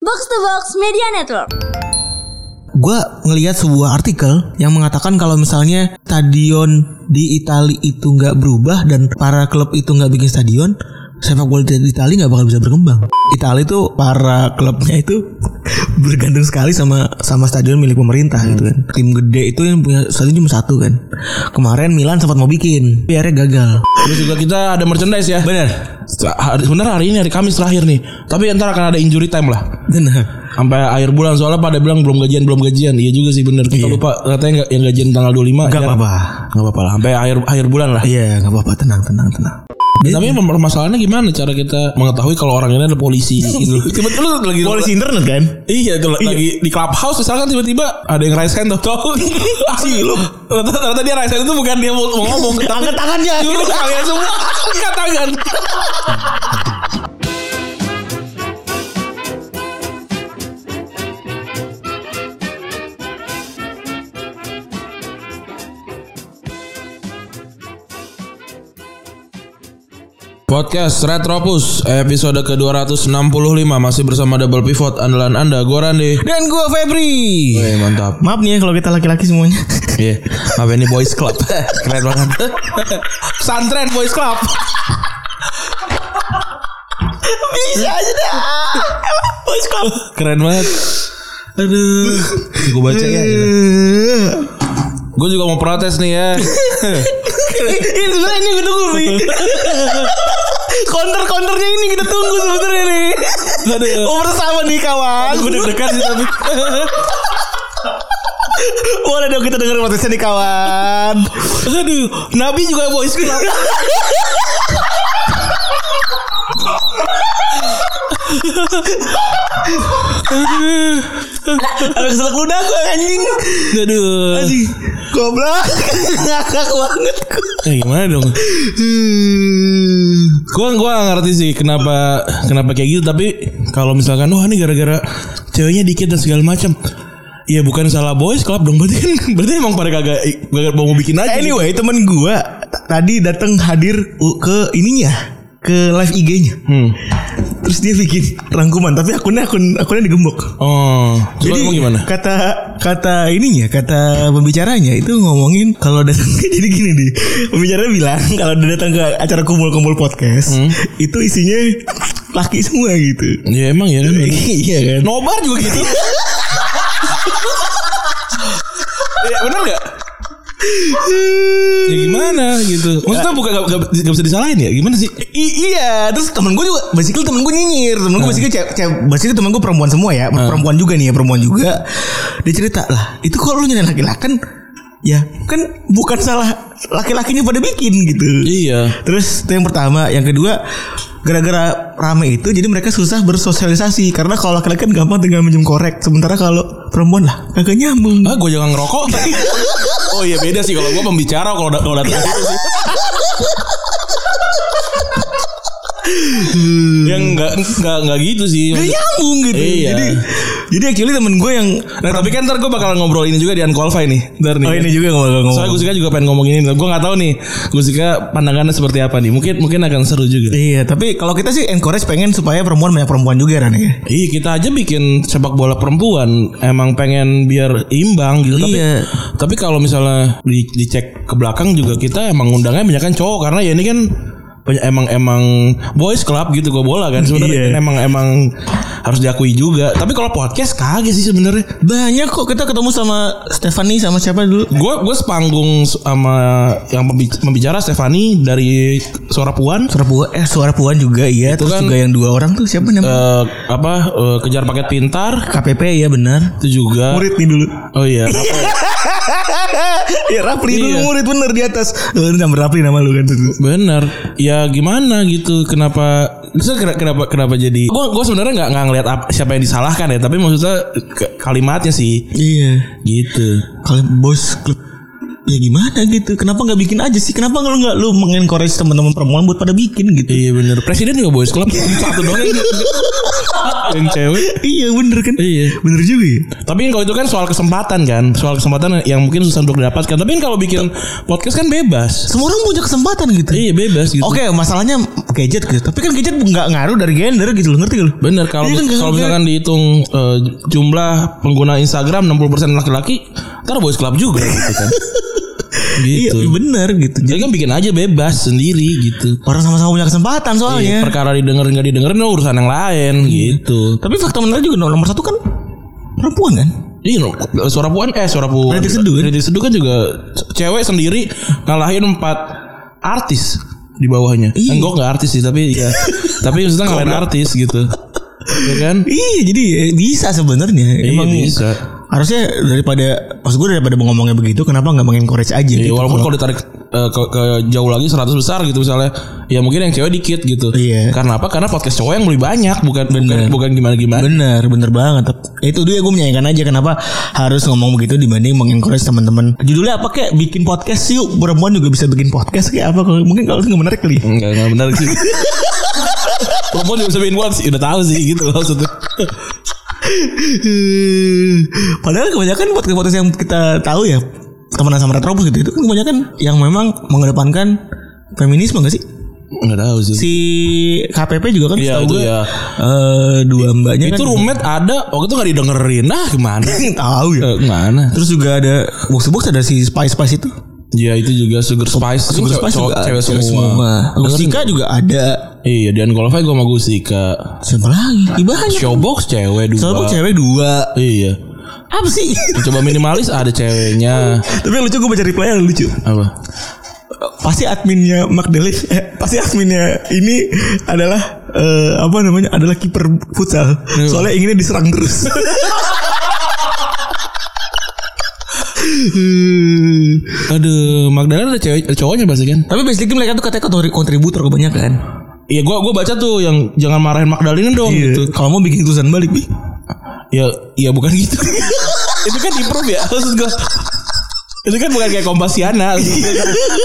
Box to Box Media Network. gue ngelihat sebuah artikel yang mengatakan kalau misalnya stadion di Italia itu nggak berubah dan para klub itu nggak bikin stadion sepak bola di Italia nggak bakal bisa berkembang. Italia itu para klubnya itu bergantung sekali sama sama stadion milik pemerintah gitu kan. Tim gede itu yang punya stadion cuma satu kan. Kemarin Milan sempat mau bikin, tapi akhirnya gagal. Terus juga kita ada merchandise ya. Bener, Hari- Sebenarnya hari ini hari Kamis terakhir nih. Tapi ntar akan ada injury time lah. bener. Sampai akhir bulan soalnya pada bilang belum gajian belum gajian. Iya juga sih bener. Kita lupa katanya nggak yang gajian tanggal Gak 25. ya. apa-apa. Nggak apa-apa lah. Sampai akhir akhir bulan lah. Iya, gak apa-apa. Tenang, tenang, tenang. Tapi permasalahannya gimana cara kita mengetahui kalau orang ini ada polisi gitu. Tiba-tiba lagi internet kan? Iya itu lagi di clubhouse misalkan tiba-tiba ada yang raise hand tuh tahu sih lu ternyata, ternyata dia raise hand itu bukan dia mau, mau ngomong Angkat tangannya. Dulu kalian semua angkat tangan Podcast Retropus episode ke-265 masih bersama Double Pivot andalan Anda gue Randi. Dan gue Febri. Wih, mantap. Maaf nih ya kalau kita laki-laki semuanya. Iya. Apa ini Boys Club? Keren banget. Santren Boys Club. Bisa aja deh. Boys club. Keren banget. Aduh. gitu. Gue baca ya. Gue juga mau protes nih ya. ini sebenarnya ini gue tunggu nih. Counter counternya ini kita tunggu sebenarnya nih. Aduh. Umur sama nih kawan. Gue deg-degan sih tapi. Boleh dong kita dengerin podcastnya nih kawan. Aduh. Nabi juga Boys Club. Habis selak ludah gue anjing. Aduh. Anjing. Goblok. Ngakak banget. Eh, gimana dong? Gua gua nggak ngerti sih kenapa kenapa kayak gitu tapi kalau misalkan wah ini gara-gara ceweknya dikit dan segala macam. Ya bukan salah boys club dong berarti kan berarti emang pada kagak kagak mau bikin aja. nih. Anyway temen gue tadi datang hadir u- ke ininya ke live IG-nya. Hmm. Terus dia bikin rangkuman tapi akunnya akun akunnya digembok. Oh, jadi emang gimana? kata kata ininya kata pembicaranya itu ngomongin kalau datang jadi gini deh pembicara bilang kalau dia datang ke acara kumpul-kumpul podcast Hmm. itu isinya laki semua gitu. Ya emang ya kan. iya kan. Nobar juga gitu. ya, bener gak? Ya gimana gitu. Maksudnya bukan gak, gak- gak bisa disalahin ya? Gimana sih? I- iya, terus temen gue juga, basically temen gue nyinyir, temen Hmm. gue basically cewek, cewek, basically temen gue perempuan semua ya, perempuan juga nih ya, perempuan juga. Dia cerita lah, itu kalau lu nyalain laki-laki kan, ya kan bukan salah laki-lakinya pada bikin gitu. Iya. Terus itu yang pertama, yang kedua, gara-gara rame itu jadi mereka susah bersosialisasi karena kalau laki-laki kan gampang tinggal minjem korek, sementara kalau perempuan lah kagak nyambung. Ah, gue jangan ngerokok. oh iya beda sih kalau gue pembicara kalau da- kalau datang ke situ sih. Hmm. Yang Ya, nggak nggak nggak gitu sih. Gak nyambung gitu. Iya. Jadi jadi actually temen gue yang Nah tapi kan ntar gue bakal ngobrol ini juga di Unqualified nih. Ntar nih. ya. Oh ini juga ngomong-ngomong. Iya. Soalnya Gusika juga pengen ngomong ini. Gue nggak tahu nih Gusika pandangannya seperti apa nih. Mungkin mungkin akan seru juga. Iya, tapi kalau kita sih encourage pengen supaya perempuan banyak perempuan juga Ran ya. Iya kita aja bikin sepak bola perempuan emang pengen biar imbang gitu tapi Iya. tapi kalau misalnya di- dicek ke belakang juga kita emang undangnya banyak kan cowok karena ya ini kan banyak- emang emang boys club gitu gue bola kan sebenarnya Iya. emang emang harus diakui juga tapi kalau podcast kagak sih sebenarnya Banyak kok kita ketemu sama Stephanie sama siapa dulu? gue gue sepanggung sama yang pembic- pembicara Stefani dari suara puan Suara Puan, eh suara Puan juga iya, terus kan- juga yang dua orang tuh siapa namanya? eh, apa eh, kejar paket pintar KPP ya benar. itu juga Murid nih dulu. oh iya ya Rafli dulu Iya. murid bener di atas. Lu ini nama Rafli nama lu kan. Bener. Ya gimana gitu? Kenapa? Bisa kena- kenapa kenapa jadi? Gue gue sebenarnya nggak nggak ngelihat apa- siapa yang disalahkan ya. Tapi maksudnya ke- kalimatnya sih Iya. gitu. Kalau bos klub ya gimana gitu? Kenapa nggak bikin aja sih? Kenapa lu nggak lu mengencourage teman-teman perempuan buat pada bikin gitu? Iya bener. Presiden juga boys club satu doang. yang- yang cewek iya bener kan? Iya. Bener juga ya. Tapi kalau itu kan soal kesempatan kan, soal kesempatan yang mungkin susah untuk didapatkan. Tapi kan kalau bikin podcast kan bebas. Semua orang punya kesempatan gitu. Iya bebas gitu. Oke, masalahnya gadget gitu. Tapi kan gadget nggak ngaruh dari gender gitu loh, ngerti gak lu? Bener kalau Iya kan, kalau kayak- misalkan dihitung eh, jumlah pengguna Instagram 60% laki-laki, ntar boys club juga gitu kan. Iya, gitu. bener gitu. Jadi Jadi kan bikin aja bebas sendiri gitu. orang sama-sama punya kesempatan soalnya. Iya, perkara didengar nggak didengerin no, urusan yang lain Hmm. gitu. Tapi fakta menarik juga nomor satu kan perempuan kan? Iya, no, suara puan eh suara puan. Rintik Seduh kan? Rintik Seduh kan juga ce- cewek sendiri ngalahin empat artis di bawahnya. Iya. Enggak nggak artis sih, tapi ya tapi maksudnya ngalahin artis gitu. Ya kan? Iya, jadi ya, bisa sebenarnya. Iya, Emang bisa. Harusnya daripada maksud gue daripada ngomongnya begitu, kenapa nggak mengencourage aja? Ya, gitu? walaupun Kalau- kalau ditarik eh, ke, ke jauh lagi 100 besar gitu misalnya, ya mungkin yang cewek dikit gitu. Iya. Karena apa? Karena podcast cowok yang lebih banyak, bukan bukan, bukan gimana-gimana. Bener, bener banget. Tep- Itu dia gue menyayangkan aja kenapa harus ngomong begitu dibanding mengencourage teman-teman. Judulnya apa kayak bikin podcast yuk perempuan juga bisa bikin podcast kayak apa? Kalau- Mungkin kalau itu nggak menarik kali. ya? Enggak, enggak benar sih. Perempuan juga bisa bikin buat sih, udah tahu sih gitu maksudnya. Padahal kebanyakan podcast-podcast yang kita tahu ya temenan sama Retropus gitu itu kan kebanyakan yang memang mengedepankan feminisme gak sih? Enggak tahu sih. Si KPP juga kan Iya, setahu itu gue, ya. eh, dua mbaknya itu kan roommate ada waktu itu nggak didengerin nah gimana tahu ya. Eh, gimana Terus juga ada box box ada si Spice Spice itu. ya itu juga sugar spice Super Itu Spice cowok- juga cewek ada. semua, kan Dengerin Gustika nggak? juga ada. iya dan kalau gue sama Gustika Siapa lagi? Ih, banyak. showbox cewek dua Soalnya cewek dua. iya Apa sih? coba minimalis ada ceweknya Tapi yang lucu gue baca reply yang lucu. apa Pasti adminnya Magdelis, eh, pasti adminnya ini adalah eh, apa namanya? Adalah kiper futsal. Soalnya inginnya diserang terus. Hmm. aduh Magdalena ada cewek ada cowoknya pasti kan Tapi basically mereka tuh katanya kontrib- kontributor kebanyakan. iya gua gua baca tuh yang jangan marahin Magdalena dong gitu Gitu. Kalau mau bikin tulisan balik, Bi. ya ya bukan gitu itu kan improve ya maksud gua itu kan bukan kayak kompasiana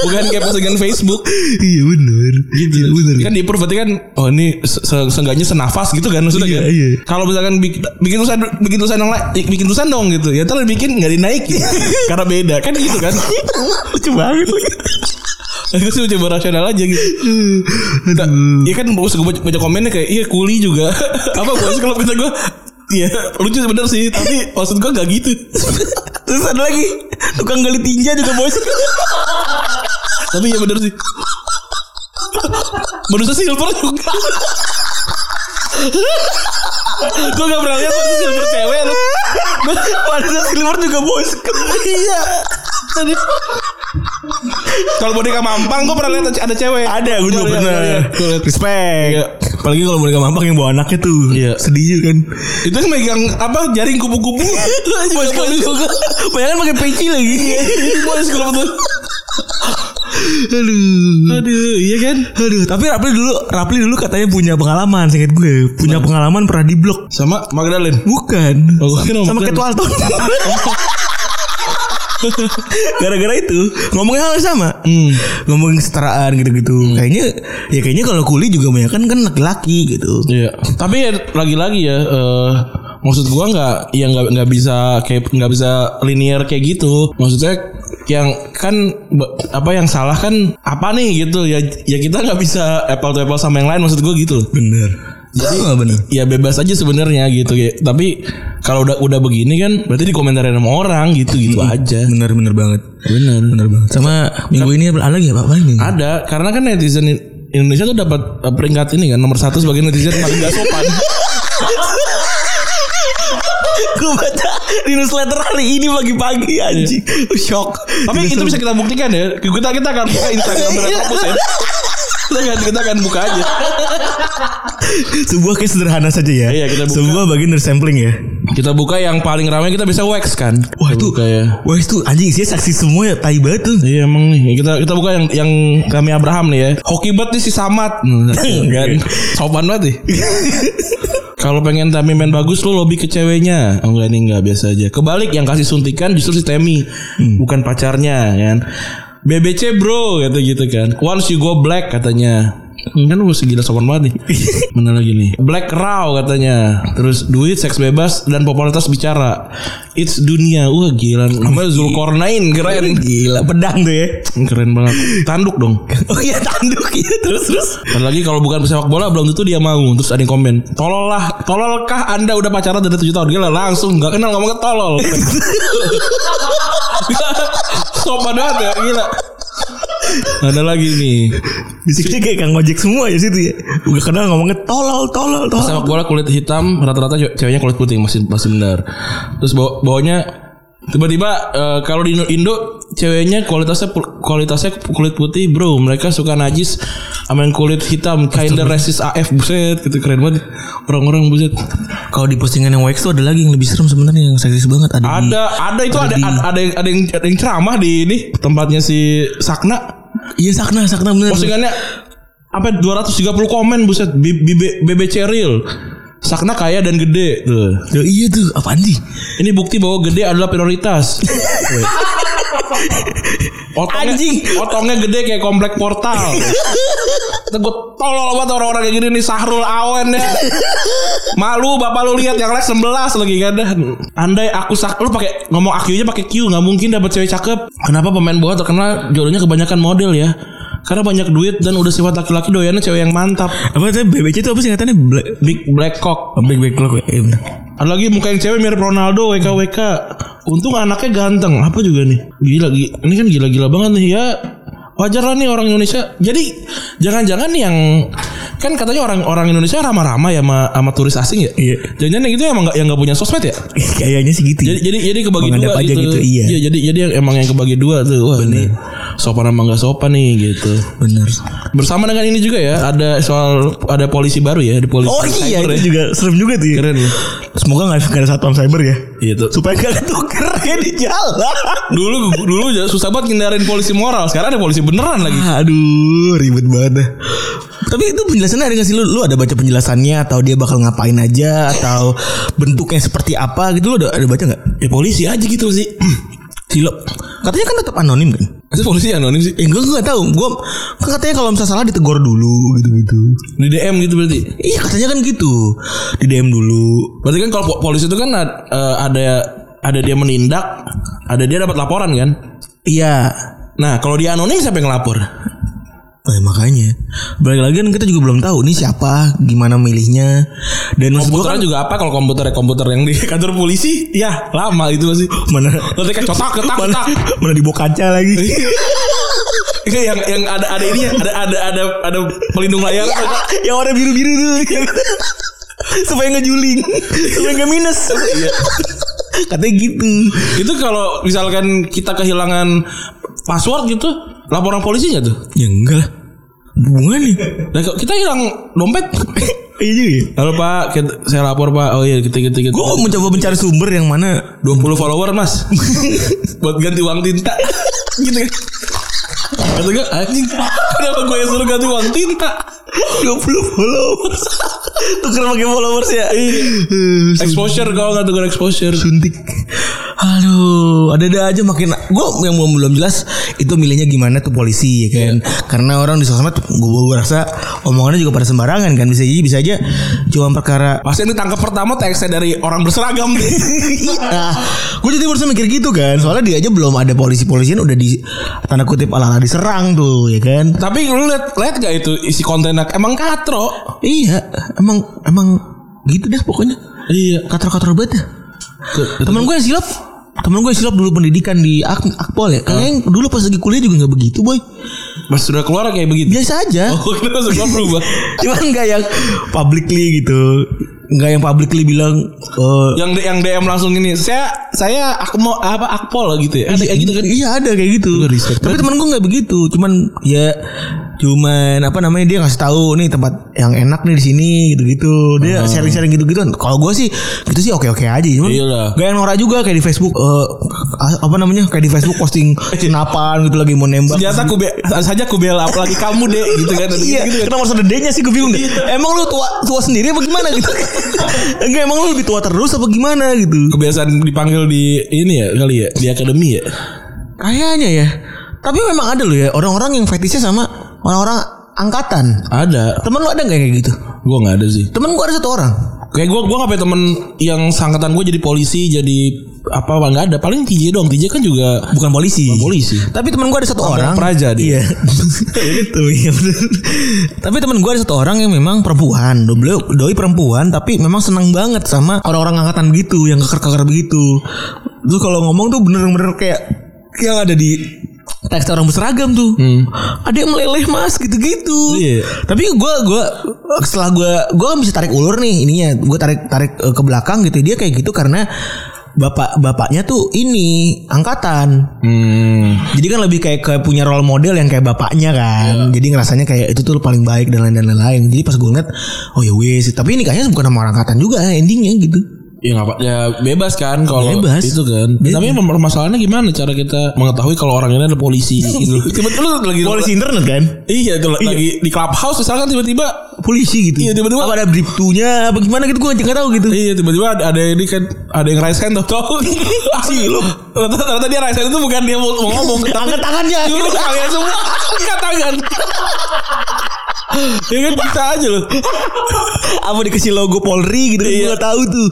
bukan kayak postingan Facebook iya bener. Gitu. bener. kan di improve berarti kan oh ini se- se- seenggaknya senafas gitu kan maksudnya Iya, kan iya. kalau misalkan bik- bikin tulisan bikin tulisan dong lah, bikin tulisan dong gitu ya terus bikin nggak dinaikin karena beda kan gitu kan lucu banget lagi. aku sih coba rasional aja gitu Nah, ya kan bagus gue baca, baca komennya kayak iya kuli juga apa bagus kalau kata gue Iya lucu sebenernya sih Tapi maksud gue gak gitu Terus ada lagi tukang gali tinja juga bos. Tapi ya bener sih Manusia silver juga Gue gak pernah lihat manusia silver cewek lu Padahal silver juga bos. Iya. Kalau boneka mampang gue pernah lihat ada cewek Ada gue juga Gua liat, pernah. gua liat, gua liat. Respect. Iya. Apalagi kalau mereka mampang yang bawa anaknya tuh. Iya. Sedih juga kan. Itu yang megang apa jaring kupu-kupu Boys club juga Bayangkan pakai peci lagi. Boys club tuh Aduh. Aduh iya kan Aduh, tapi Rapli dulu Rapli dulu katanya punya pengalaman, singkat gue. Punya pengalaman pernah di blok. Sama Magdalene Bukan. Oh, gue kira sama bukan. Kate Walton. Gara-gara itu ngomongin hal yang sama. Hmm. Ngomongin kesetaraan gitu-gitu. Kayaknya ya kayaknya kalau kuli juga banyak kan kan laki-laki gitu. Iya. Tapi ya, lagi-lagi ya eh, maksud gua nggak ya nggak nggak bisa kayak nggak bisa linear kayak gitu. Maksudnya yang kan be- apa yang salah kan apa nih gitu ya ya kita nggak bisa apple to apple sama yang lain maksud gua gitu. Bener. Jadi nggak bener. Ya bebas aja sebenarnya gitu ya. Tapi kalau udah udah begini kan berarti dikomentarin sama orang gitu gitu aja. Bener bener banget. Bener. Bener banget. Sama minggu ini ada lagi apa apa ini? Ada karena kan netizen in- Indonesia tuh dapat eh, peringkat ini kan nomor satu sebagai netizen paling gak sopan. Gue baca di newsletter hari ini pagi-pagi anjing. Shock. Iya. Tapi itu bisa kita buktikan ya. Kita kita akan buka Instagram dari Iya. kampus ya. Kita akan, kita akan buka aja. sebuah case sederhana saja ya. Iya, kita buka. sebuah bagian dari sampling ya. Kita buka yang paling ramai kita bisa wax kan. Wah itu Kita buka ya. Wah itu anjing isinya saksi semua ya Tai banget tuh Iya emang nih kita kita buka yang yang kami Abraham nih ya. Hoki bet nih si Samat. kan. Sopan banget nih. Kalau pengen Tami main bagus lu lobby ke ceweknya. Oh enggak nih enggak biasa aja. Kebalik yang kasih suntikan justru si Temi bukan pacarnya kan. BBC bro kata gitu kan. Once you go black katanya. Kan lu segila sopan banget nih. Bener lagi nih. Black Raw katanya. Terus duit, seks bebas, dan popularitas bicara. It's dunia. Wah gila. Namanya Zulkarnain. Keren. Gila pedang tuh ya. Keren banget. Tanduk dong. Oh iya tanduk ya terus terus. Dan lagi kalau bukan pesepak bola belum tentu dia mau. Terus ada yang komen, tolol lah, tololkah anda udah pacaran dari 7 tahun? Gila langsung nggak kenal ngomong ke tolol. Sopan banget ya, gila. Ada lagi nih Bisiknya kayak kang ojek semua ya situ ya. Udah kenal ngomongnya tolol tolol tolol. Sepak bola kulit hitam Rata-rata ce- ceweknya kulit putih Masih masih benar Terus bawa- bawahnya Tiba-tiba eh, Kalau di Indo, Indo Ceweknya kualitasnya pul- Kualitasnya kulit putih Bro mereka suka najis Sama yang kulit hitam Kinda resist AF Buset gitu keren banget Orang-orang buset Kalau di postingan yang wax tuh ada lagi yang lebih serem sebenarnya yang sadis banget ada. di- Ada ada itu Ada ada di- ada, ada yang ada yang ada yang ceramah di ini tempatnya si Sakna. Iya sakna sakna bener. Postingannya apa 230 komen buset B- B- BB Ceril. Sakna kaya dan gede gitu. tuh. Loh, iya tuh apaan sih? Ini bukti bahwa gede adalah prioritas. Weh. Otongnya, Anjing. otongnya gede kayak komplek portal. Itu gue tolol banget orang-orang kayak gini nih Sahrul Awen ya. Malu bapak lu lihat yang like 11 lagi kan dah. Andai aku sak lu pakai ngomong akunya pakai Q nggak mungkin dapat cewek cakep. Kenapa pemain bola terkenal jodohnya kebanyakan model ya? Karena banyak duit dan udah sifat laki-laki doyannya cewek yang mantap. Apa tuh BBC itu apa sih katanya Black Big black cock. Black Black Clock. Eh, bentar. Ada lagi muka yang cewek mirip Ronaldo WK WK. Untung anaknya ganteng. Apa juga nih? Gila gila. Ini kan gila-gila banget nih ya. Wajar lah nih orang Indonesia. Jadi jangan-jangan yang kan katanya orang-orang Indonesia ramah-ramah ya sama, sama turis asing ya. Iya. Jangan-jangan yang gitu emang nggak yang nggak punya sosmed ya. Kayaknya sih gitu. Jadi ya. jadi jadi kebagi Menghadap dua aja gitu, iya. jadi jadi yang emang yang kebagi dua tuh. Wah ini sopan sama nggak sopan nih gitu. Bener. Bersama dengan ini juga ya ada soal ada polisi baru ya di polisi. Oh iya cyber itu ya. juga serem juga tuh. ya. keren ya. Semoga nggak nggak ada satpam cyber ya. Gitu. Supaya nggak ketuker ya di jalan. dulu dulu ya susah banget ngindarin polisi moral sekarang ada polisi beneran lagi Ah, Aduh ribet banget. dah. Tapi itu penjelasannya ada nggak sih lu? Lu ada baca penjelasannya atau dia bakal ngapain aja atau bentuknya seperti apa gitu lu ada, ada baca nggak? ya polisi aja gitu sih Silop. Katanya kan tetap anonim kan? itu polisi anonim sih Eh gue gak tahu. Gue kan katanya kalau misalnya salah ditegur dulu gitu-gitu. di DM gitu berarti Iya katanya kan gitu. Di DM dulu. berarti kan kalau po- polisi itu kan ad- eh, ada ada dia menindak ada dia dapat laporan kan Iya. nah kalau dia anonim siapa yang ngelapor Eh, makanya balik lagi kan kita juga belum tahu nih siapa, gimana milihnya. Dan maksud gue kan Iya. komputernya juga apa kalau komputer komputer yang di kantor polisi ya lama itu masih mana nanti kan cotak ketak ketak mana di kaca lagi. Iya, yang yang ada ada ini ada ada ada ada pelindung layar Iya, yang warna biru-biru tuh. supaya nggak juling, supaya nggak minus. Katanya gitu. Iya. itu kalau misalkan kita kehilangan password gitu laporan polisi nggak tuh Ya enggak lah. Hubungannya. Nah, kok kita hilang dompet. Iya juga ya. Halo Pak, kita- saya lapor Pak. Oh iya, gitu gitu gitu. Gue mencoba mencari sumber yang mana 20 follower Mas. Buat ganti uang tinta. gitu kan. Kata gue anjing Kenapa gue yang suruh ganti uang tinta 20 followers Tuker pakai followers ya Eh, Exposure kalau nggak tuh gue exposure Suntik Aduh Ada-ada aja makin Gue yang belum, belum jelas Itu milihnya gimana tuh polisi ya kan Karena orang di sosmed Gue rasa Omongannya juga pada sembarangan kan Bisa jadi bisa aja Cuma perkara Pasti yang ditangkap pertama teksnya dari orang berseragam Nah, gue jadi barusan mikir gitu kan Soalnya dia aja belum ada polisi-polisian Udah di Tanda kutip ala-ala diserang tuh Ya kan Tapi lu lihat lihat gak itu isi kontennya Emang katro Iya Emang Emang Gitu dah pokoknya Iya Katro-katro banget ya Temen gue yang silap Temen gue yang silap dulu pendidikan di Ak Akpol ya Kayaknya yang dulu pas lagi kuliah juga gak begitu boy Pas sudah keluar kayak begitu Biasa aja Oh kenapa semua berubah Cuman gak yang publicly gitu Gak yang publicly bilang eh, yang yang DM langsung ini saya saya aku mau apa akpol gitu ya ada Iya kayak gitu kan Iya ada kayak gitu. Gue respect Tapi temen gue nggak begitu. Cuman ya cuman apa namanya dia ngasih tahu nih tempat yang enak nih di sini gitu-gitu. Dia Ah. sharing-sharing gitu-gitu. Kalau gue sih gitu sih oke-oke aja. Cuman Iyalah. gak yang norak juga kayak di Facebook eh, a- apa namanya kayak di Facebook posting senapan gitu lagi mau nembak. senjata ku be- saja ku bela apalagi kamu deh gitu kan Iya, Ada gitu, gitu kan. kenapa harus ada D-nya sih gue bingung deh. Emang lu tua tua sendiri apa gimana gitu? Enggak, emang lu lebih tua terus apa gimana gitu? kebiasaan dipanggil di ini ya kali ya di akademi ya Kayaknya ya. Tapi memang ada loh ya orang-orang yang fetishnya sama orang-orang angkatan. Ada. Temen lu ada nggak yang kayak gitu? Gua nggak ada sih. Temen gua ada satu orang. Kayak gue gue nggak punya temen yang sangkatan gue jadi polisi jadi apa apa nggak ada paling TJ doang TJ kan juga Bukan polisi. polisi Tapi temen gua ada satu orang. Praja dia. Iya. Itu, iya bener. tapi temen gua ada satu orang yang memang perempuan. Beliau doi perempuan tapi memang senang banget sama orang-orang angkatan begitu yang keker-keker begitu. Terus kalau ngomong tuh bener-bener kayak yang ada di teks orang berseragam tuh. Ada yang meleleh mas gitu-gitu. Iya. Tapi gua gua setelah gua gua kan bisa tarik ulur nih ininya. Gua tarik tarik eh, ke belakang gitu. Dia kayak gitu karena bapak bapaknya tuh ini angkatan. hmm. Jadi kan lebih kayak, kayak punya role model yang kayak bapaknya kan. Jadi ngerasanya kayak itu tuh paling baik dan lain-lain. dan lain-lain. Jadi pas gue ngeliat, oh ya wes. Tapi ini kayaknya bukan sama orang angkatan juga endingnya gitu. ya nggak apa- ya bebas kan kalau Bebas. itu kan Bebas. tapi mem- permasalahannya gimana cara kita mengetahui kalau orang ini ada polisi gitu tiba-tiba lu lagi internet kan? iya itu lagi di clubhouse misalkan tiba-tiba Polisi gitu. Iya, tiba-tiba. Apa ada briptunya apa gimana gitu gue nggak tahu gitu. Iya tiba-tiba ada, ada ini kan ada yang raise hand tau sih lu ternyata, ternyata dia raise hand itu bukan dia mau, mau ngomong tapi Angkat tangannya. dulu kalian semua angkat tangan ya kan bisa aja loh apa dikasih logo Polri gitu kan gue Iya. nggak tahu tuh.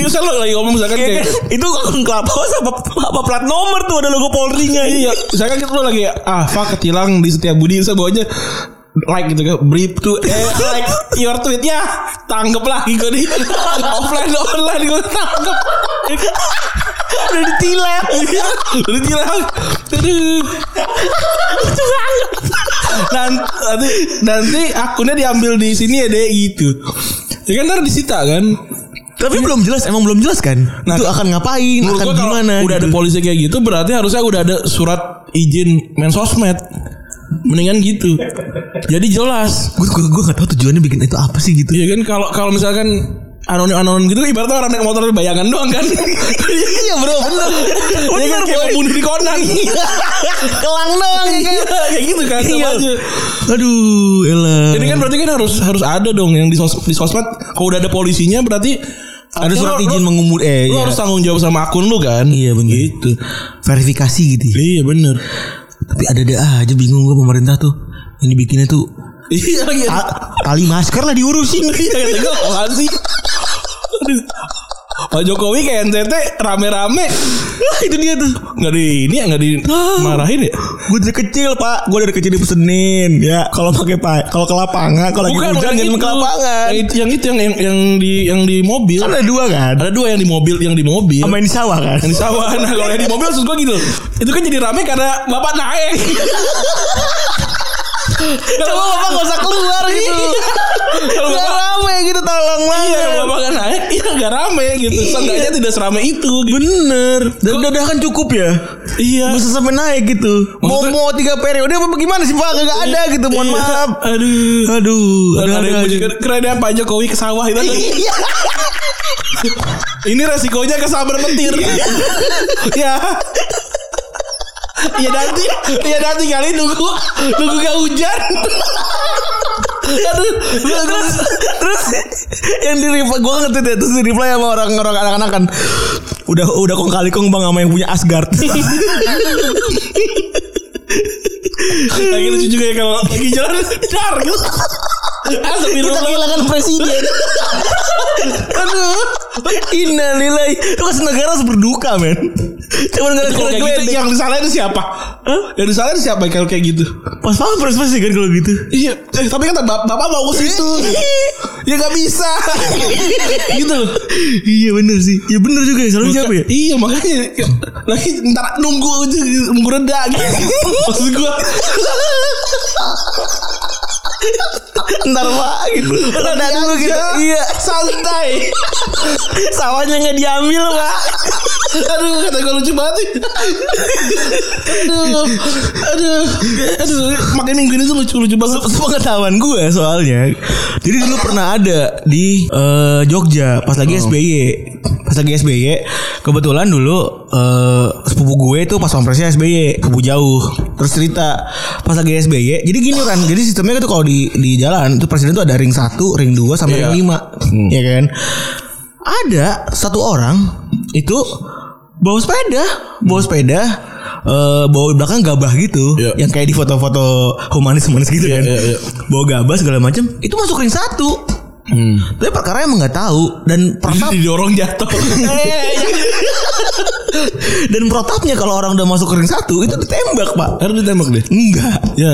Iya kan lo lagi ngomong misalkan Iya kayak kan? itu kelapos apa, apa plat nomor tuh ada logo Polrinya. Iya, misalkan kita tuh lagi ah fuck ketilang di setiap budi saya bawanya like gitu kan brief to eh, like your tweetnya tanggep lagi gue nih offline online gue tanggep Iya, Udah ditilang. udah tilang nanti, nanti nanti akunnya diambil di sini ya deh gitu ya kan ntar disita kan Tapi belum jelas, emang belum jelas kan? Nah, itu akan ngapain, menurut akan gue kalau gimana? udah ada gitu. polisi kayak gitu berarti harusnya udah ada surat izin main sosmed mendingan gitu jadi jelas gue gue gue gak tahu tujuannya bikin itu apa sih gitu Iya kan kalau kalau misalkan anonim anonim gitu ibaratnya orang naik motor bayangan doang kan. iya bro bener Iya kan kayak bunuh di konan. kelang dong Kayak gitu kan sama Iya. aja. aduh elah Ini kan berarti kan harus harus ada dong yang di sos di sosmed kalau udah ada polisinya berarti ada Artinya surat lu- izin lu- mengumur eh Lu iya. harus tanggung jawab sama akun lu kan. iya bener gitu verifikasi gitu ya. Iya bener. tapi ada ada aja bingung gue pemerintah tuh ini bikinnya tuh Iya lagi. ta- tali masker lah diurusin Iya kata gue apaan sih? Aduh. Pak Jokowi kayak NTT rame-rame itu dia tuh Ah. Nggak di ini ya Nggak dimarahin ya gue dari kecil pak gue dari kecil dipesenin ya kalau pakai pak kalau ke lapangan kalau lagi Bukan hujan bukan jangan itu. ke lapangan Yang itu yang itu yang yang, yang di yang di mobil. kan ada dua kan Ada dua yang di mobil, yang di mobil. sama yang di sawah kan yang di sawah. Nah, kalau yang di mobil maksud gua gitu. Itu kan jadi rame karena bapak naik. Coba bapak gak usah keluar gitu Kalau Gak bapak rame gitu tolong Iya, banget kalau bapak nggak naik, iya nggak rame gitu. Seenggaknya tidak serame itu. Gitu. Bener Dan udah kan cukup ya Iya. Gak usah sampai naik gitu Maksudnya- Momo tiga periode apa gimana sih pak Gak ada gitu mohon Iya. maaf Aduh. Aduh Ada, ada yang aja. bujuk keren ya Pak Jokowi ke sawah itu. Iya. Ini resikonya kesabar petir. Iya. ya. Ya nanti, ya nanti kali nunggu nunggu gak hujan. Aduh, Terus Terus Yang di reply Gue ngerti deh Terus di reply sama orang-orang anak-anak kan Udah udah kong kali kong bang sama yang punya Asgard lagi lucu juga ya kalau lagi jalan dar gitu. Ah, Kita Astagfirullah. kehilangan presiden Aduh Innalillahi Itu kan negara harus berduka men Cuman Kalau gara-gara kayak gue gitu yang disalahin siapa? Hah? Yang disalahin siapa kalau kayak gitu? Pas pampres pasti kan kalau gitu Iya, eh, tapi kata bap- bapak mau ke situ. ya gak bisa. gitu loh. Iya bener sih Ya bener juga ya Selalu siapa ya Iya makanya lagi ntar nunggu aja nunggu reda gitu. Maksud gua Iya, Ntar pak gitu Rada dulu gitu Iya santai. Sawahnya nggak diambil pak Aduh kata gua lucu banget. nih. Aduh, aduh, aduh. Makanya minggu ini tuh lucu lucu banget. Sepengetahuan gue soalnya Jadi dulu pernah ada Di eh, Jogja Pas Oh. lagi SBY Pas lagi SBY Kebetulan dulu eh, Sepupu gue tuh pas pampresnya SBY Sepupu jauh Terus cerita Pas lagi SBY Jadi gini kan Jadi sistemnya tuh kalau di, di jalan Itu presiden tuh ada ring 1 Ring 2 sampai Iya. ring 5 Iya kan Ada satu orang Itu Bawa sepeda Bawa sepeda eh, bawa belakang gabah gitu, Hmm. Iya. yang kayak di foto-foto humanis-humanis gitu Iya, kan. iya, iya. Bawa gabah segala macam, itu masuk ring satu. Hmm. Tapi perkara emang nggak tahu dan Jadi protap didorong jatuh. iya, dan protapnya kalau orang udah masuk ring satu itu ditembak pak. Harus ditembak deh. Enggak. Ya.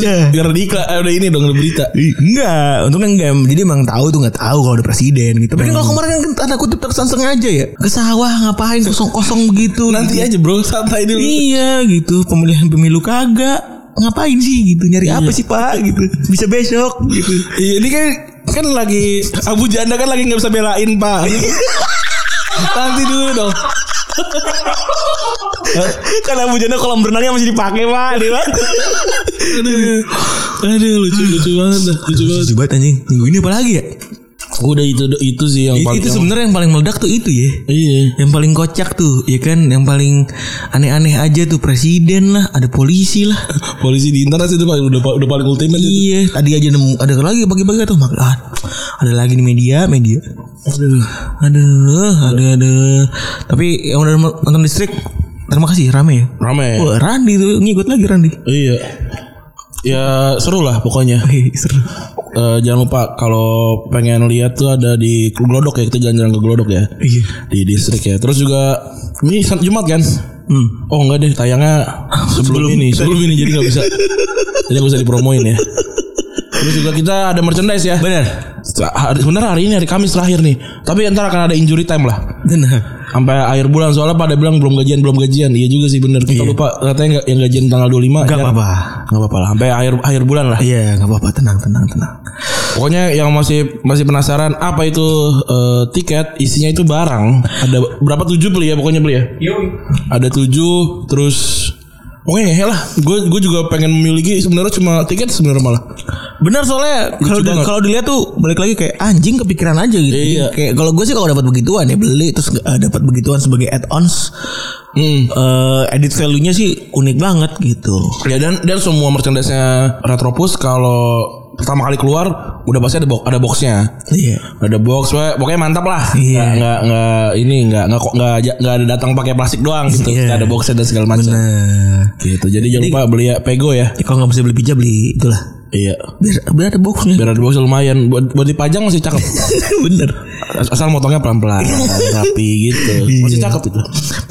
Ya. Biar di iklan eh, udah ini dong udah berita. Ih, Enggak, untungnya enggak. Jadi emang tahu tuh enggak tahu kalau ada presiden gitu. Tapi kalau kemarin kan tanda kutip terkesan sengaja ya. Ke sawah ngapain kosong-kosong begitu. Nanti gitu. aja bro santai dulu. Iya gitu, pemilihan pemilu kagak. Ngapain sih gitu? Nyari apa sih, Pak gitu? Bisa besok gitu. Iya ini kan kan lagi Abu Janda kan lagi nggak bisa belain pak. Nanti dulu dong. Karena Bu Jana kolam berenangnya masih dipakai, Pak. Dia, Pak. Aduh, aduh lucu lucu banget dah, lucu banget. Coba anjing, minggu ini apa lagi ya? Udah itu itu sih yang Itu, paling. itu sebenarnya yang paling meledak tuh itu ya. Iya. Yang paling kocak tuh, ya kan? Yang paling aneh-aneh aja tuh presiden lah, ada polisi lah. Polisi di internet itu paling udah udah paling ultimate. itu. Iya, tadi aja nemu ada lagi pagi-pagi tuh mak ah, ada lagi di media, media. Iya. Aduh, aduh, aduh, aduh. Tapi yang udah nonton listrik, terima kasih rame ya. Rame. Wah, Randi tuh ngikut lagi Randi. Iya. Ya seru lah pokoknya. Wih, iya, seru. Eh, jangan lupa kalau pengen lihat tuh ada di Glodok ya kita jalan-jalan ke Glodok ya. Iya. Di distrik ya. Terus juga ini Sam- Jumat kan? Hmm. Oh enggak deh tayangnya sebelum, ini sebelum ini jadi nggak bisa jadi nggak bisa dipromoin ya. Terus juga kita ada merchandise ya. Bener. Bener hari ini hari Kamis terakhir nih. Tapi ntar akan ada injury time lah. Benar. Sampai akhir bulan soalnya pada bilang belum gajian belum gajian. Iya juga sih bener. Kita lupa katanya nggak- yang gajian tanggal 25 Gak ya. apa-apa. Nggak apa-apa lah. Sampai akhir akhir bulan lah. Iya, gak apa-apa, tenang, tenang, tenang. Pokoknya yang masih masih penasaran apa itu eh, tiket isinya itu barang. Ada berapa tujuh beli ya pokoknya beli ya. Ada tujuh terus pokoknya ya, ngehe lah. Gue gue juga pengen memiliki sebenarnya cuma tiket sebenarnya malah. Benar soalnya kalau di- banget. kalau dilihat tuh balik lagi kayak "Ah, anjing kepikiran aja gitu. Jadi Iya. Kayak kalau gue sih kalau dapat begituan ya beli terus eh, dapat begituan sebagai add-ons Hmm. eh edit value-nya sih unik banget gitu. Ya dan dan semua merchandise-nya Retropus kalau pertama kali keluar udah pasti ada box ada boxnya. Iya. Ada box, weh. pokoknya mantap lah. Iya. Nggak- Nggak nggak ini nggak nggak kok- nggak aja- nggak ada datang pakai plastik doang gitu. Iya. Ada boxnya dan segala macam. Nah, Gitu. Jadi, jangan lupa beli ya Pego ya. ya kalau nggak bisa beli pija beli itulah. Iya. Biar, biar ada boxnya. Biar ada box lumayan buat buat dipajang masih cakep. Bener. As- Asal motongnya pelan-pelan, rapi gitu. Masih Iya. cakep itu.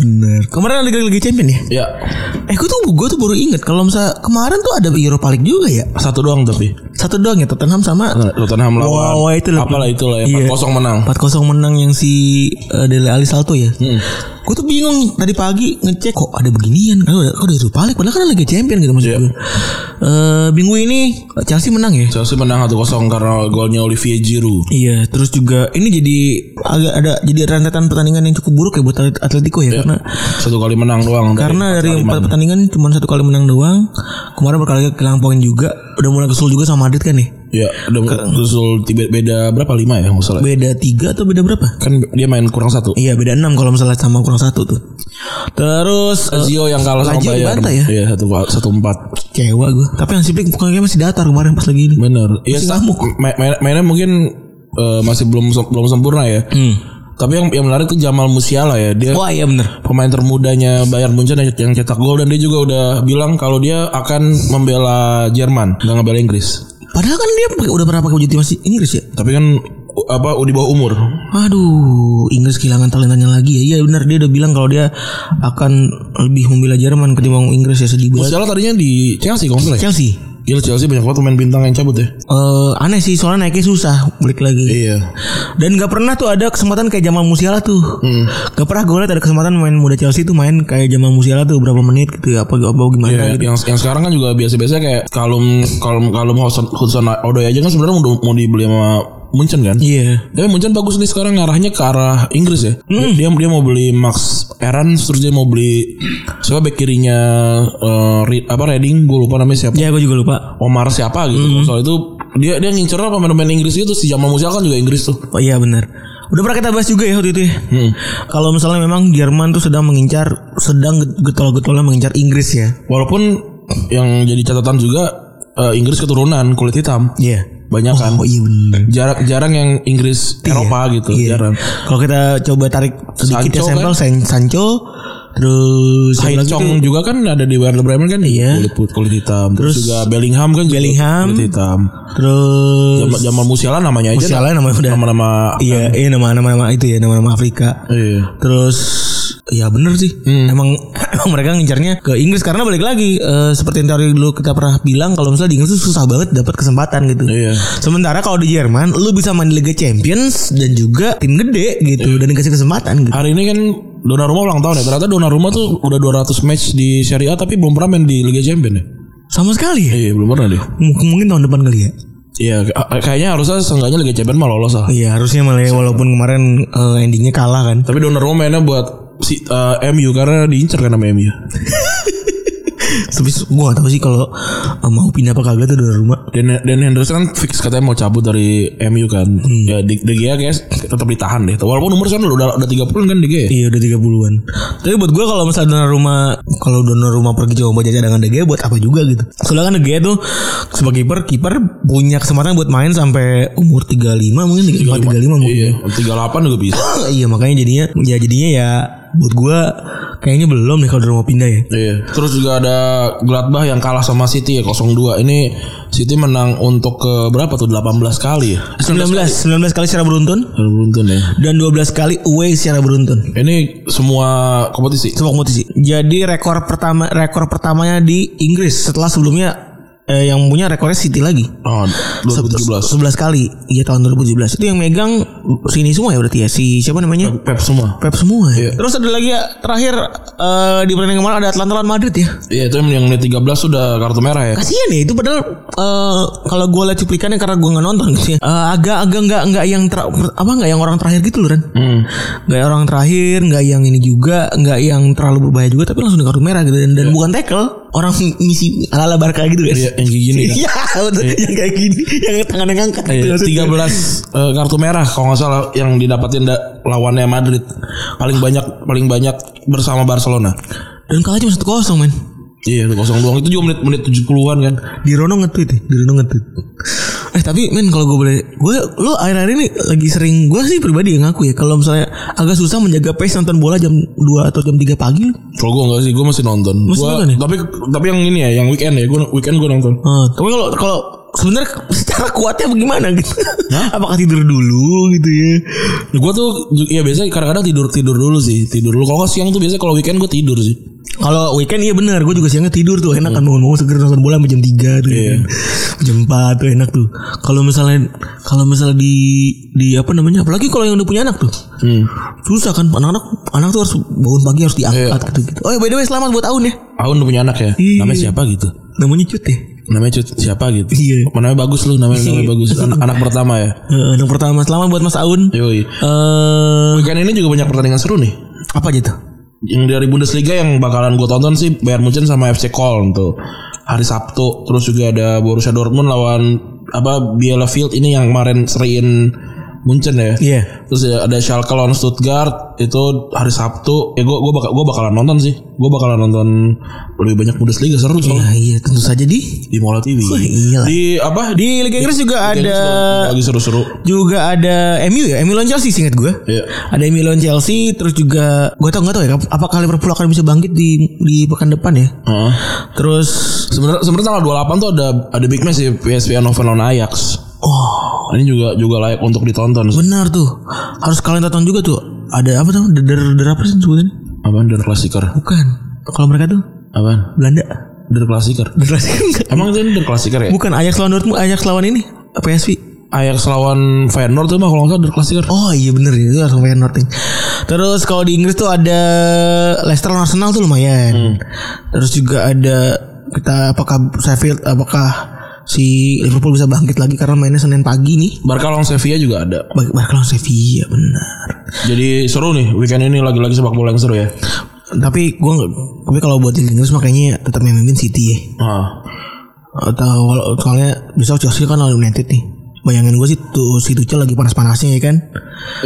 Bener. Kemarin ada lagi champion ya? Ya, Eh, gue tuh gue tuh baru inget kalau misalnya kemarin tuh ada Europa League juga ya. satu doang tapi. Satu doang ya Tottenham sama Tottenham lawan. Wah, wah, itu lebih- apalah itulah ya. Iya. 4-0 menang. 4-0 menang yang si eh, Dele Ali Salto ya. Hmm. Gue tuh bingung tadi pagi ngecek kok ada beginian kan udah kok udah Europa League padahal kan lagi champion gitu maksud Iya. gue. Eh, minggu ini eh, Chelsea menang ya. Chelsea menang 1-0 karena golnya Olivier Giroud. Iya, terus juga ini jadi agak ada jadi rentetan pertandingan yang cukup buruk ya buat Atletico ya karena Satu kali menang doang. karena Iya. empat dari kali empat main. pertandingan cuma satu kali menang doang. Kemarin berkali kali kehilangan poin juga. Udah mulai kesel juga sama Madrid kan nih. Ya, udah usul tiba beda berapa lima ya masalah. Beda tiga atau beda berapa? Kan dia main kurang satu. Iya beda enam kalau misalnya sama kurang satu tuh. Terus eh, Lazio yang kalah sama Lazio Bayern. dibantai ya? Iya, satu satu empat. kecewa gue. Tapi yang Siplik bukannya masih datar kemarin pas lagi ini. Bener. Iya, Masih sa- ngamuk. ma- main- mainnya mungkin eh, masih belum sem- belum sempurna ya. Tapi yang yang menarik tuh Jamal Musiala ya. Dia Hmm. Wah iya bener. pemain termudanya Bayern Munchen yang, yang cetak gol dan dia juga udah bilang kalau dia akan membela Jerman, nggak ngebela Inggris. Padahal kan dia pakai- udah pernah pakai baju timnas Inggris ya. Tapi kan u- apa u- di bawah umur. Aduh, Inggris kehilangan talentanya lagi ya. Iya benar dia udah bilang kalau dia akan lebih membela Jerman ketimbang Inggris ya sedih banget. Musiala tadinya di Chelsea kalau nggak salah ya? Chelsea. Gila Chelsea banyak banget pemain bintang yang cabut ya. Eh aneh sih soalnya naiknya susah balik lagi. Iya. Dan gak pernah tuh ada kesempatan kayak Jamal Musiala tuh. Gak pernah gue liat ada kesempatan main muda Chelsea tuh main kayak Jamal Musiala tuh berapa menit gitu ya apa apa gimana gitu. yang yang sekarang kan juga biasa-biasa kayak kalum kalum kalum Hudson, Hudson Odoi aja kan sebenarnya mau, mau dibeli sama Munchen kan? Iya. Tapi Munchen bagus nih sekarang ngarahnya ke arah Inggris ya. Hmm. Dia dia mau beli Max Erans terus dia mau beli siapa back kirinya eh, Reed- apa Reading gue lupa namanya siapa. Ya gue juga lupa. Omar siapa gitu. Hmm. Soal itu dia dia ngincer pemain-pemain Inggris gitu si Jamal Musiala kan juga Inggris tuh. Hmm. Oh iya benar. Udah pernah kita bahas juga ya waktu itu ya. Kalau misalnya memang Jerman tuh sedang mengincar sedang getol-getolnya mengincar Inggris ya. Walaupun yang jadi catatan juga eh, Inggris keturunan kulit hitam. Iya. Banyak kan. Oh iya benar. Jarak jarang yang Inggris Eropa gitu, Iya. jarang. Kalau kita coba tarik sedikit ya Sancho sampel San- Sancho Terus siapa lagi tuh? Haichong juga kan ada di Werder Bremen kan Iya. kulit putih kulit hitam terus, Terus juga Bellingham kan juga Bellingham. kulit hitam Terus Jamal, Jamal Musiala namanya aja Musiala namanya udah. nama-nama Iya, iya nama-nama nama itu ya, nama-nama Afrika. iya. Terus ya bener sih. Emang, emang mereka ngincarnya ke Inggris karena balik lagi eh, seperti yang tadi dulu kita pernah bilang kalau misalnya di Inggris tuh susah banget dapat kesempatan gitu. Iya. Sementara kalau di Jerman lu bisa main di Liga Champions dan juga tim gede gitu dan dikasih kesempatan gitu. Hari ini kan Donnarumma ulang tahun ya. Ternyata Donnarumma tuh udah 200 match di Serie A tapi belum pernah main di Liga Champions ya. Sama sekali ya. Iya, belum pernah deh. M- mungkin tahun depan kali ya. Iya, k- kayaknya harusnya seenggaknya Liga Champions mah lolos lah. Iya harusnya malah ya, walaupun kemarin eh, endingnya kalah kan. Tapi Donnarumma mainnya buat si eh, MU karena diincar kan sama MU. Tapi gua gak tahu sih kalau eh, mau pindah apa kagak tuh dari rumah. Dan dan Henderson kan fix katanya mau cabut dari MU kan. Hmm. Ya De, De Gea guys tetap ditahan deh. Walaupun umur sekarang udah udah 30 kan De Gea. ya? Iya udah 30-an. Tapi buat gue kalau misalnya donor rumah kalau donor rumah pergi coba jajan dengan De Gea buat apa juga gitu. Soalnya kan De Gea tuh sebagai kiper kiper punya kesempatan buat main sampai umur 35 mungkin 34 35 mungkin. Iya, 38 juga bisa. iya makanya jadinya ya jadinya ya buat gue kayaknya belum nih kalau rumah pindah ya. Iya. Terus juga ada Gladbach yang kalah sama City ya 0-2. Ini City menang untuk ke berapa tuh 18 kali ya? 19 19 kali secara beruntun Baru Beruntun ya. dan 12 kali away secara beruntun. Ini semua kompetisi. Semua kompetisi. Jadi rekor pertama rekor pertamanya di Inggris setelah sebelumnya eh, yang punya rekornya City lagi. Oh, 11 2017. kali Iya tahun 2017 Itu yang megang Sini semua ya berarti ya Si siapa namanya Pep semua. Pep semua ya Terus ada lagi ya Terakhir eh, Di pertandingan kemarin ada Atlanta lawan Madrid ya Iya, itu yang menit 13 sudah kartu merah ya. Kasian ya itu padahal eh, Kalau gue liat cuplikannya Karena gue gak nonton gitu ya Eh, Agak-agak nggak nggak yang ter, Apa nggak yang orang terakhir gitu loh Ren Hmm. Nggak yang orang terakhir nggak yang ini juga nggak yang terlalu berbahaya juga Tapi langsung di kartu merah gitu Dan, dan bukan tackle Orang misi ala-ala Barca gitu guys Iya, yang kayak gini kan. Iya betul Yang kayak gini Yang tangannya ngangkat gitu Iya, maksudnya. 13 eh, kartu merah kalau nggak salah yang didapatin da- lawannya Madrid paling banyak paling banyak bersama Barcelona. Dan kalah cuma satu kosong men Iya, 0 doang itu juga menit menit 70-an kan. Di Rono nge-tweet ya Di Rono nge-tweet Eh tapi men kalau gue boleh Gue Lo akhir-akhir ini lagi sering Gue sih pribadi yang ngaku ya Kalau misalnya agak susah menjaga pace nonton bola jam 2 atau jam 3 pagi Kalau gue enggak sih, gue masih nonton. Masih Gua- nonton ya? Tapi tapi yang ini ya, yang weekend ya, gue weekend gue nonton. Eh, Tapi kalau kalau sebenarnya secara kuatnya bagaimana gitu Apakah tidur dulu gitu ya Gue tuh ju- ya biasanya kadang-kadang tidur tidur dulu sih, tidur dulu. Kalau nggak siang tuh biasanya kalau weekend gue tidur sih. Kalau weekend iya bener Gue juga siangnya tidur tuh Enak kan bangun-bangun seger nonton bola sampai jam 3 tuh gitu. Iya. Jam 4 tuh enak tuh Kalau misalnya Kalau misalnya di Di apa namanya Apalagi kalau yang udah punya anak tuh Hmm. susah kan anak-anak anak tuh harus bangun pagi harus diangkat Iya. gitu gitu oh ya by the way selamat buat Aun ya Aun udah punya anak ya. Iya. Namanya siapa gitu? namanya Cut ya Namanya Cut siapa gitu? Iya. Namanya bagus lu, namanya, namanya bagus. Anak, anak pertama ya. Eh, anak pertama selamat buat Mas Aun eh Yoi. Weekend ini juga banyak pertandingan seru nih. apa aja tuh Yang dari Bundesliga yang bakalan gue tonton sih Bayern Munchen sama FC Köln tuh. Hari Sabtu terus juga ada Borussia Dortmund lawan apa Bielefeld ini yang kemarin seriin Munchen ya. iya Terus ya ada Schalke lawan Stuttgart itu hari Sabtu. Ya gue gue bakal gue bakalan nonton sih. Gue bakalan nonton lebih banyak Bundesliga seru soalnya nah, iya tentu saja di di Mola TV. iya lah. Di apa? di Di Liga Inggris juga ada lagi seru-seru. juga ada MU ya MU lawan Chelsea singkat gue Iya. ada MU lawan Chelsea terus juga gue tau nggak tau ya apakah Liverpool akan bisa bangkit di di pekan depan ya Heeh. terus Sebenarnya sebenarnya tanggal 28 tuh ada ada big match sih PSV Eindhoven lawan Ajax. oh Ini juga juga layak untuk ditonton. benar tuh harus kalian tonton juga tuh ada apa tuh der der, der apa sih sebutannya Apaan Der Klassiker? bukan kalau mereka tuh Apaan? Belanda Der Klassiker. Emang itu Der Klassiker ya? Bukan Ajax lawan Dortmund, Ajax lawan ini PSV. Ajax lawan Feyenoord tuh mah kalau nggak salah Der Klassiker. Oh iya bener ya, itu harus Feyenoord nih. Terus kalau di Inggris tuh ada Leicester lawan Arsenal tuh lumayan. Terus juga ada kita apakah Sheffield apakah si Liverpool bisa bangkit lagi karena mainnya Senin pagi nih. Barca lawan Sevilla juga ada. Bagi Barca lawan Sevilla benar. Jadi seru nih weekend ini lagi-lagi sepak bola yang seru ya. Tapi gua nggak- tapi kalau buat di Inggris makanya tetap yang mimpin City ya. Ah. Atau kalau soalnya besok Chelsea kan lawan United nih. Bayangin gue sih tuh si Tuchel lagi panas-panasnya ya kan.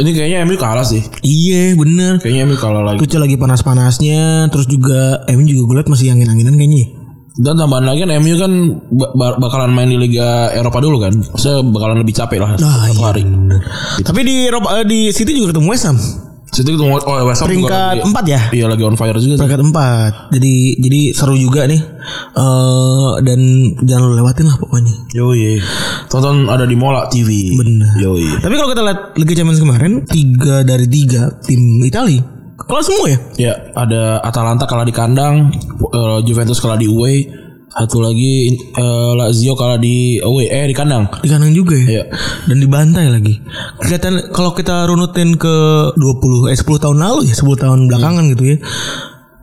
Ini kayaknya MU kalah sih. Iya bener Kayaknya MU kalah lagi. Tuchel lagi panas-panasnya Terus juga Emin juga gue liat masih angin-anginan kayaknya ya. Dan tambahan lagi kan MU kan ba- ba- bakalan main di Liga Eropa dulu kan. Saya bakalan lebih capek lah Ah, satu iya, hari. Tapi di Eropa eh, di City juga ketemu West Ham City itu oh, West Ham juga Peringkat lagi- empat ya? Iya lagi on fire juga. tuh. peringkat empat. Jadi jadi seru juga nih. Eh dan jangan lu lewatin lah pokoknya. Yoi. Tonton ada di Mola TV. Bener. Yoi. Tapi kalau kita lihat Liga Champions kemarin, tiga dari tiga tim Italia kalah semua ya. Ya, ada Atalanta kalah di kandang, eh, Juventus kalah di away, satu lagi eh, Lazio kalah di away eh di kandang. Di kandang juga ya. Iya. Dan dibantai lagi. Kelihatan kalau kita runutin ke 20 eh 10 tahun lalu ya, 10 tahun belakangan Iya. gitu ya.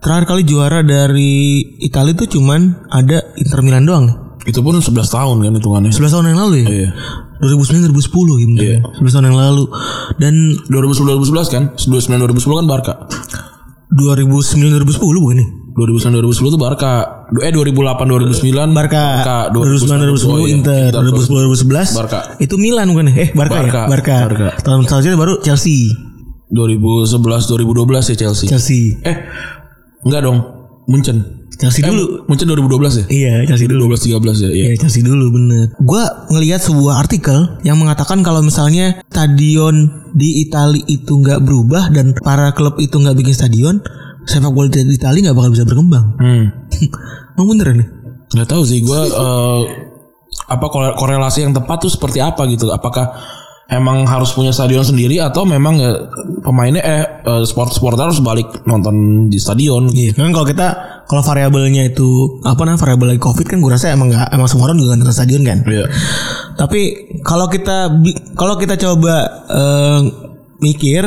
Terakhir kali juara dari Italia itu cuman ada Inter Milan doang. ya. Itu pun 11 tahun kan hitungannya. 11 tahun yang lalu ya. Iya. 2009 2010 gitu. Iya. ya. 11 tahun yang lalu dan 2010 2011 kan? 2009 2010 kan Barca. 2009 2010 bukan ya? nih? 2009 2010 itu Barca. Eh 2008 2009 Barca, 2009 2010 oh, iya. Inter, 2010 2011 Barca. Itu Milan bukan ya? Eh Barca, Barca. ya? Barca. Barca. Tahun selanjutnya baru Chelsea. 2011 2012 ya Chelsea. Chelsea. Eh enggak dong. Munchen. Chelsea Eh, dulu. Munchen 2012 ya? Iya, Chelsea dulu. 12 13 ya. Iya. Iya, Chelsea dulu bener. Gua ngelihat sebuah artikel yang mengatakan kalau misalnya stadion di Italia itu nggak berubah dan para klub itu nggak bikin stadion, sepak bola di Italia nggak bakal bisa berkembang. Hmm. Emang bener nih? nggak tahu sih gue eh, apa kore- korelasi yang tepat tuh seperti apa gitu apakah emang harus punya stadion sendiri atau memang ya, pemainnya eh sport supporter harus balik nonton di stadion Iya, kan kalau kita kalau variabelnya itu apa namanya variabel lagi covid kan gue rasa emang nggak emang semua orang juga nonton stadion kan. Iya. Tapi kalau kita bi- kalau kita coba eh, mikir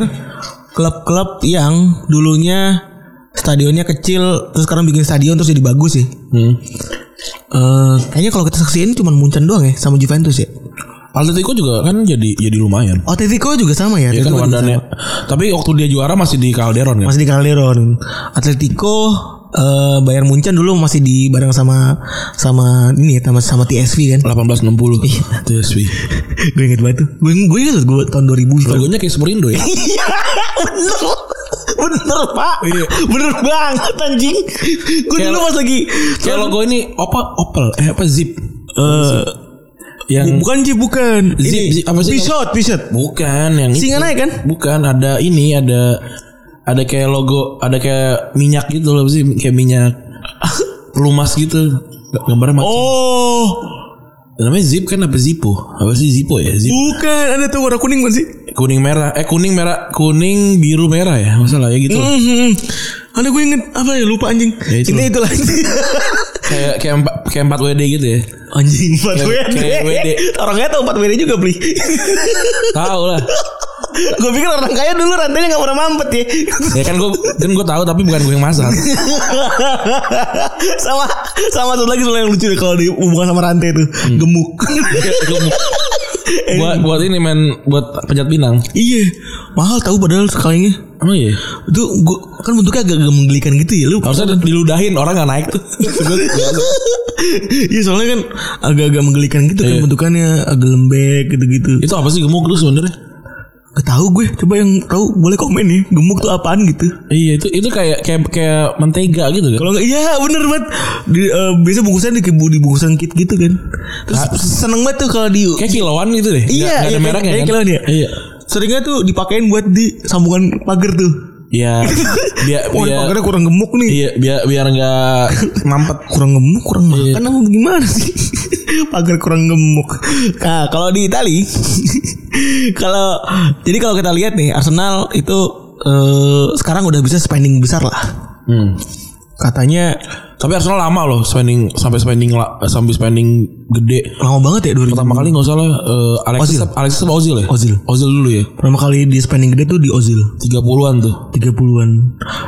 klub-klub yang dulunya stadionnya kecil terus sekarang bikin stadion terus jadi bagus sih. Hmm. Eh, kayaknya kalau kita saksiin cuma Munchen doang ya sama Juventus ya. Atletico juga kan jadi jadi lumayan Atletico juga sama ya. ya Atletico kan juga Wandanya. sama. tapi waktu dia juara masih di Calderon kan Masih di Calderon. Atletico eh, Bayern Munchen dulu masih di bareng sama sama ini ya sama, sama TSV kan. 1860 TSV gue inget banget tuh. Gue gue inget gue tahun 2000 itu. logonya kayak Superindo ya Iya bener Bener pak Iya. Bener banget anjing Gue Kayak- dulu pas lagi kayak logo ini apa Opel eh apa Zip Eh, yang Bukan sih bukan Zip, Ini zip, apa sih? Pisot Pisot Bukan yang itu. Singa naik kan? Bukan ada ini ada ada kayak logo ada kayak minyak gitu loh sih kayak minyak pelumas gitu gambarnya macam. Oh Namanya zip kan apa zippo? Apa sih zippo ya? Zip Bukan Ada tuh warna kuning bukan sih kuning merah. Eh kuning merah kuning biru merah ya masalah ya gitu. Mhm. Ada gue inget Apa ya lupa anjing Ya, itu. Intinya itu lah Kayak kayak empat kayak empat WD gitu ya. Anjing 4 Kayak- WD kayak WD. Orang kaya tau 4 WD juga beli Tahu lah. Gue pikir orang kaya dulu rantainya gak pernah mampet ya Ya kan gue kan gue tahu tapi bukan gue yang masak. sama sama satu lagi soalnya yang lucu deh kalau dihubungkan sama rantai tuh gemuk Eh, buat buat ini men buat pejat pinang. iya mahal tahu padahal sekalinya Emang iya. itu gua, kan bentuknya agak agak menggelikan gitu ya lu Harusnya diludahin orang nggak naik tuh. iya soalnya kan agak-agak menggelikan gitu kan Iya. bentukannya agak lembek gitu-gitu Itu apa sih gemuk lu sebenarnya? Gak tahu gue coba yang tahu boleh komen nih gemuk tuh apaan gitu Iya itu itu kayak kayak kayak mentega gitu kan. kalau nggak iya bener banget di, eh, biasanya bungkusan di, di bungkusan kit gitu kan terus seneng banget tuh kalau di Kayak kilauan gitu deh. Iya, Nggak- nggak ada iya, mereknya kayak- kan. kayak kilauan ya. Iya. seringnya tuh dipakein buat di sambungan pagar tuh. Iya. Biar Wah, biar pagarnya kurang gemuk nih. iya biar biar enggak mampet. Kurang gemuk, kurang makan apa gimana sih? pagar kurang gemuk. Nah, kalau di Itali kalau jadi kalau kita lihat nih Arsenal itu eh, sekarang udah bisa spending besar lah. Hmm. Katanya Tapi Arsenal lama loh spending sampai spending la- sampai spending gede. lama banget ya 2000. Pertama kali nggak salah eh, Alexis Ozil. Alexis sama Ozil ya? Ozil. Ozil dulu ya. Pertama kali di spending gede tuh di Ozil 30-an tuh. 30-an.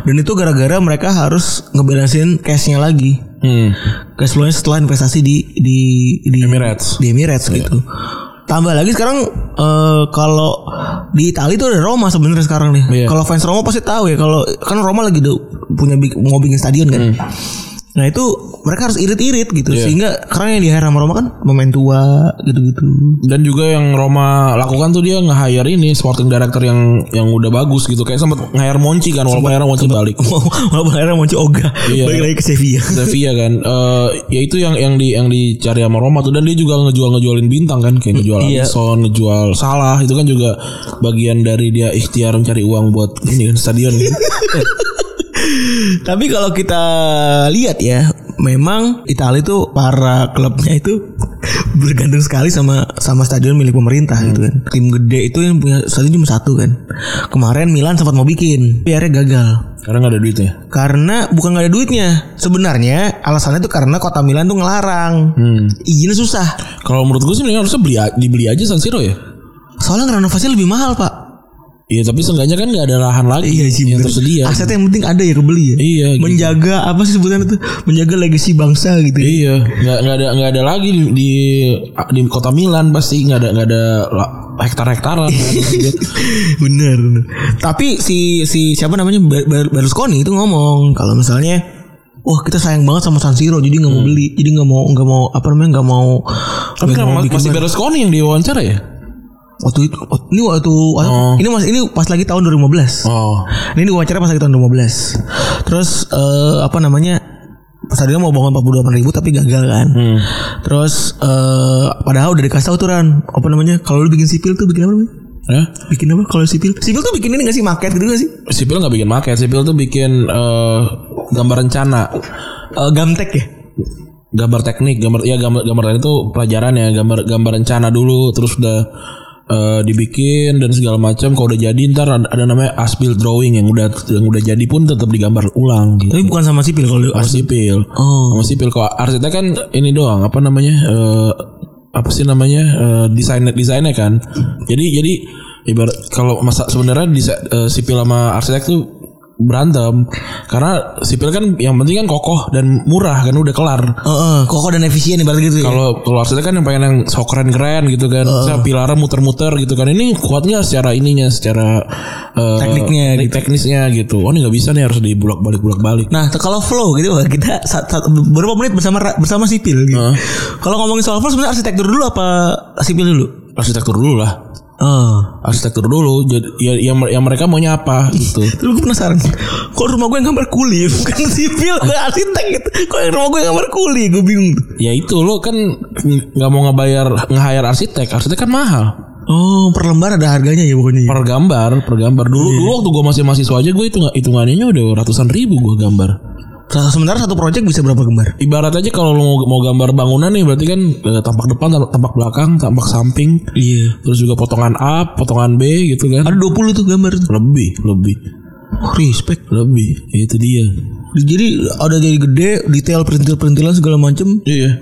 Dan itu gara-gara mereka harus ngebalansin cashnya lagi. Hmm. cash flow-nya setelah investasi di di di Emirates. di Emirates Iya. gitu. Tambah lagi sekarang eh, kalau di Italia itu ada Roma sebenarnya sekarang nih. Iya. Kalau fans Roma pasti tahu ya kalau kan Roma lagi do- punya bik- mau bikin stadion kan. Nah itu mereka harus irit-irit gitu Hmm. Iya. sehingga karena yang di sama Roma kan pemain tua gitu-gitu. Dan juga yang Roma lakukan tuh dia nge-hire ini sporting director yang yang udah bagus gitu. Kayak sempat nge-hire Monchi kan walaupun akhirnya Monchi balik. Walaupun akhirnya muncul Oga Iya. balik lagi ke Sevilla. Sevilla kan Eh ya itu yang yang di yang dicari sama Roma tuh dan dia juga ngejual ngejualin bintang kan kayak ngejual Iya. Alisson, ngejual Salah itu kan juga bagian dari dia ikhtiar mencari uang buat ini kan stadion. Tapi kalau kita lihat ya, memang Italia itu para klubnya itu bergantung sekali sama sama stadion milik pemerintah gitu kan. Hmm. Tim gede itu yang punya stadion cuma satu kan. Kemarin Milan sempat mau bikin, tapi akhirnya gagal. Karena nggak ada duitnya. Karena bukan gak ada duitnya. Sebenarnya alasannya itu karena kota Milan tuh ngelarang. Hmm. Izinnya susah. Kalau menurut gue sih mendingan harusnya beli a- dibeli aja San Siro ya. Soalnya renovasinya lebih mahal, Pak. Iya tapi seenggaknya kan nggak ada lahan lagi yang bener. tersedia. Aset yang penting ada ya kebeli ya. Iya, gitu. Menjaga apa sih sebutan itu? Menjaga legacy bangsa gitu. ya. Iya, nggak nggak ada nggak ada lagi di di, di kota Milan pasti nggak ada nggak ada hektar hektaran. Iya. bener, bener. Tapi si si siapa namanya Ber- Ber- Berlusconi itu ngomong kalau misalnya wah kita sayang banget sama San Siro jadi nggak mau beli jadi nggak mau nggak mau apa namanya nggak mau Hmm. Tapi nggak mau kenapa bikin masih bar- Berlusconi yang diwawancara ya? waktu itu waktu- ini waktu ini mas ini pas lagi tahun 2015 Oh, ini diwawancara pas lagi tahun 2015 terus eh, apa namanya stadion mau bangun 42 ribu tapi gagal kan Hmm. terus eh, padahal udah dikasih tau tuh Ran apa namanya kalau lu bikin sipil tuh bikin apa namanya ya? bikin apa kalau sipil sipil tuh bikin ini nggak sih market gitu nggak sih Sipil nggak bikin market, sipil tuh bikin eh, gambar rencana, Eh, gamtek ya gambar teknik, gambar ya gambar gambar itu pelajaran ya, gambar gambar rencana dulu, terus udah eh, dibikin dan segala macam. Kalau udah jadi ntar ada, ada namanya aspil drawing yang udah yang udah jadi pun tetap digambar ulang. Gitu. tapi bukan sama sipil kalau sama sipil. Oh. Sama sipil kok arsitek kan ini doang apa namanya? eh, apa sih namanya? eh, desainnya desainnya kan. Jadi jadi ibarat kalau masa sebenarnya desa- eh, sipil sama arsitek tuh berantem karena sipil kan yang penting kan kokoh dan murah kan udah kelar. Eh, eh, kokoh dan efisien ibarat gitu ya Kalau kalau arsitek kan yang pengen yang so keren keren gitu kan, Misalnya pilarnya muter-muter gitu kan. Ini kuatnya secara ininya, secara eh, Tekniknya teknik- teknisnya gitu. Oh ini nggak bisa nih harus dibulak balik bulak balik. Nah, te- kalau flow gitu Pak, kita sat- sat- berapa menit bersama ra- bersama sipil gitu. Heeh. Kalau ngomongin soal flow sebenarnya arsitektur dulu apa sipil dulu? Arsitektur dulu lah. Oh. arsitektur dulu jadi ya, yang yang mereka maunya apa gitu Terus gue penasaran Kok rumah gue yang gambar kuli Bukan sipil Gue arsitek gitu Kok yang rumah gue yang gambar kuli Gue bingung ya itu lo kan nggak mau ngebayar nge-hire arsitek arsitek kan mahal Oh per lembar ada harganya ya pokoknya ya? per gambar per gambar dulu dulu waktu gue masih mahasiswa aja gue itu hitungannya udah ratusan ribu gue gambar Sa- Sementara satu project bisa berapa gambar? ibarat aja kalau lo mau, mau gambar bangunan nih berarti kan eh, tampak depan tam- tampak belakang tampak samping Iya terus juga potongan A potongan B gitu kan Ada 20 tuh gambar tuh. lebih lebih Oh, Respect lebih Ya, itu dia Jadi ada jadi gede Detail perintil-perintilan segala macem iya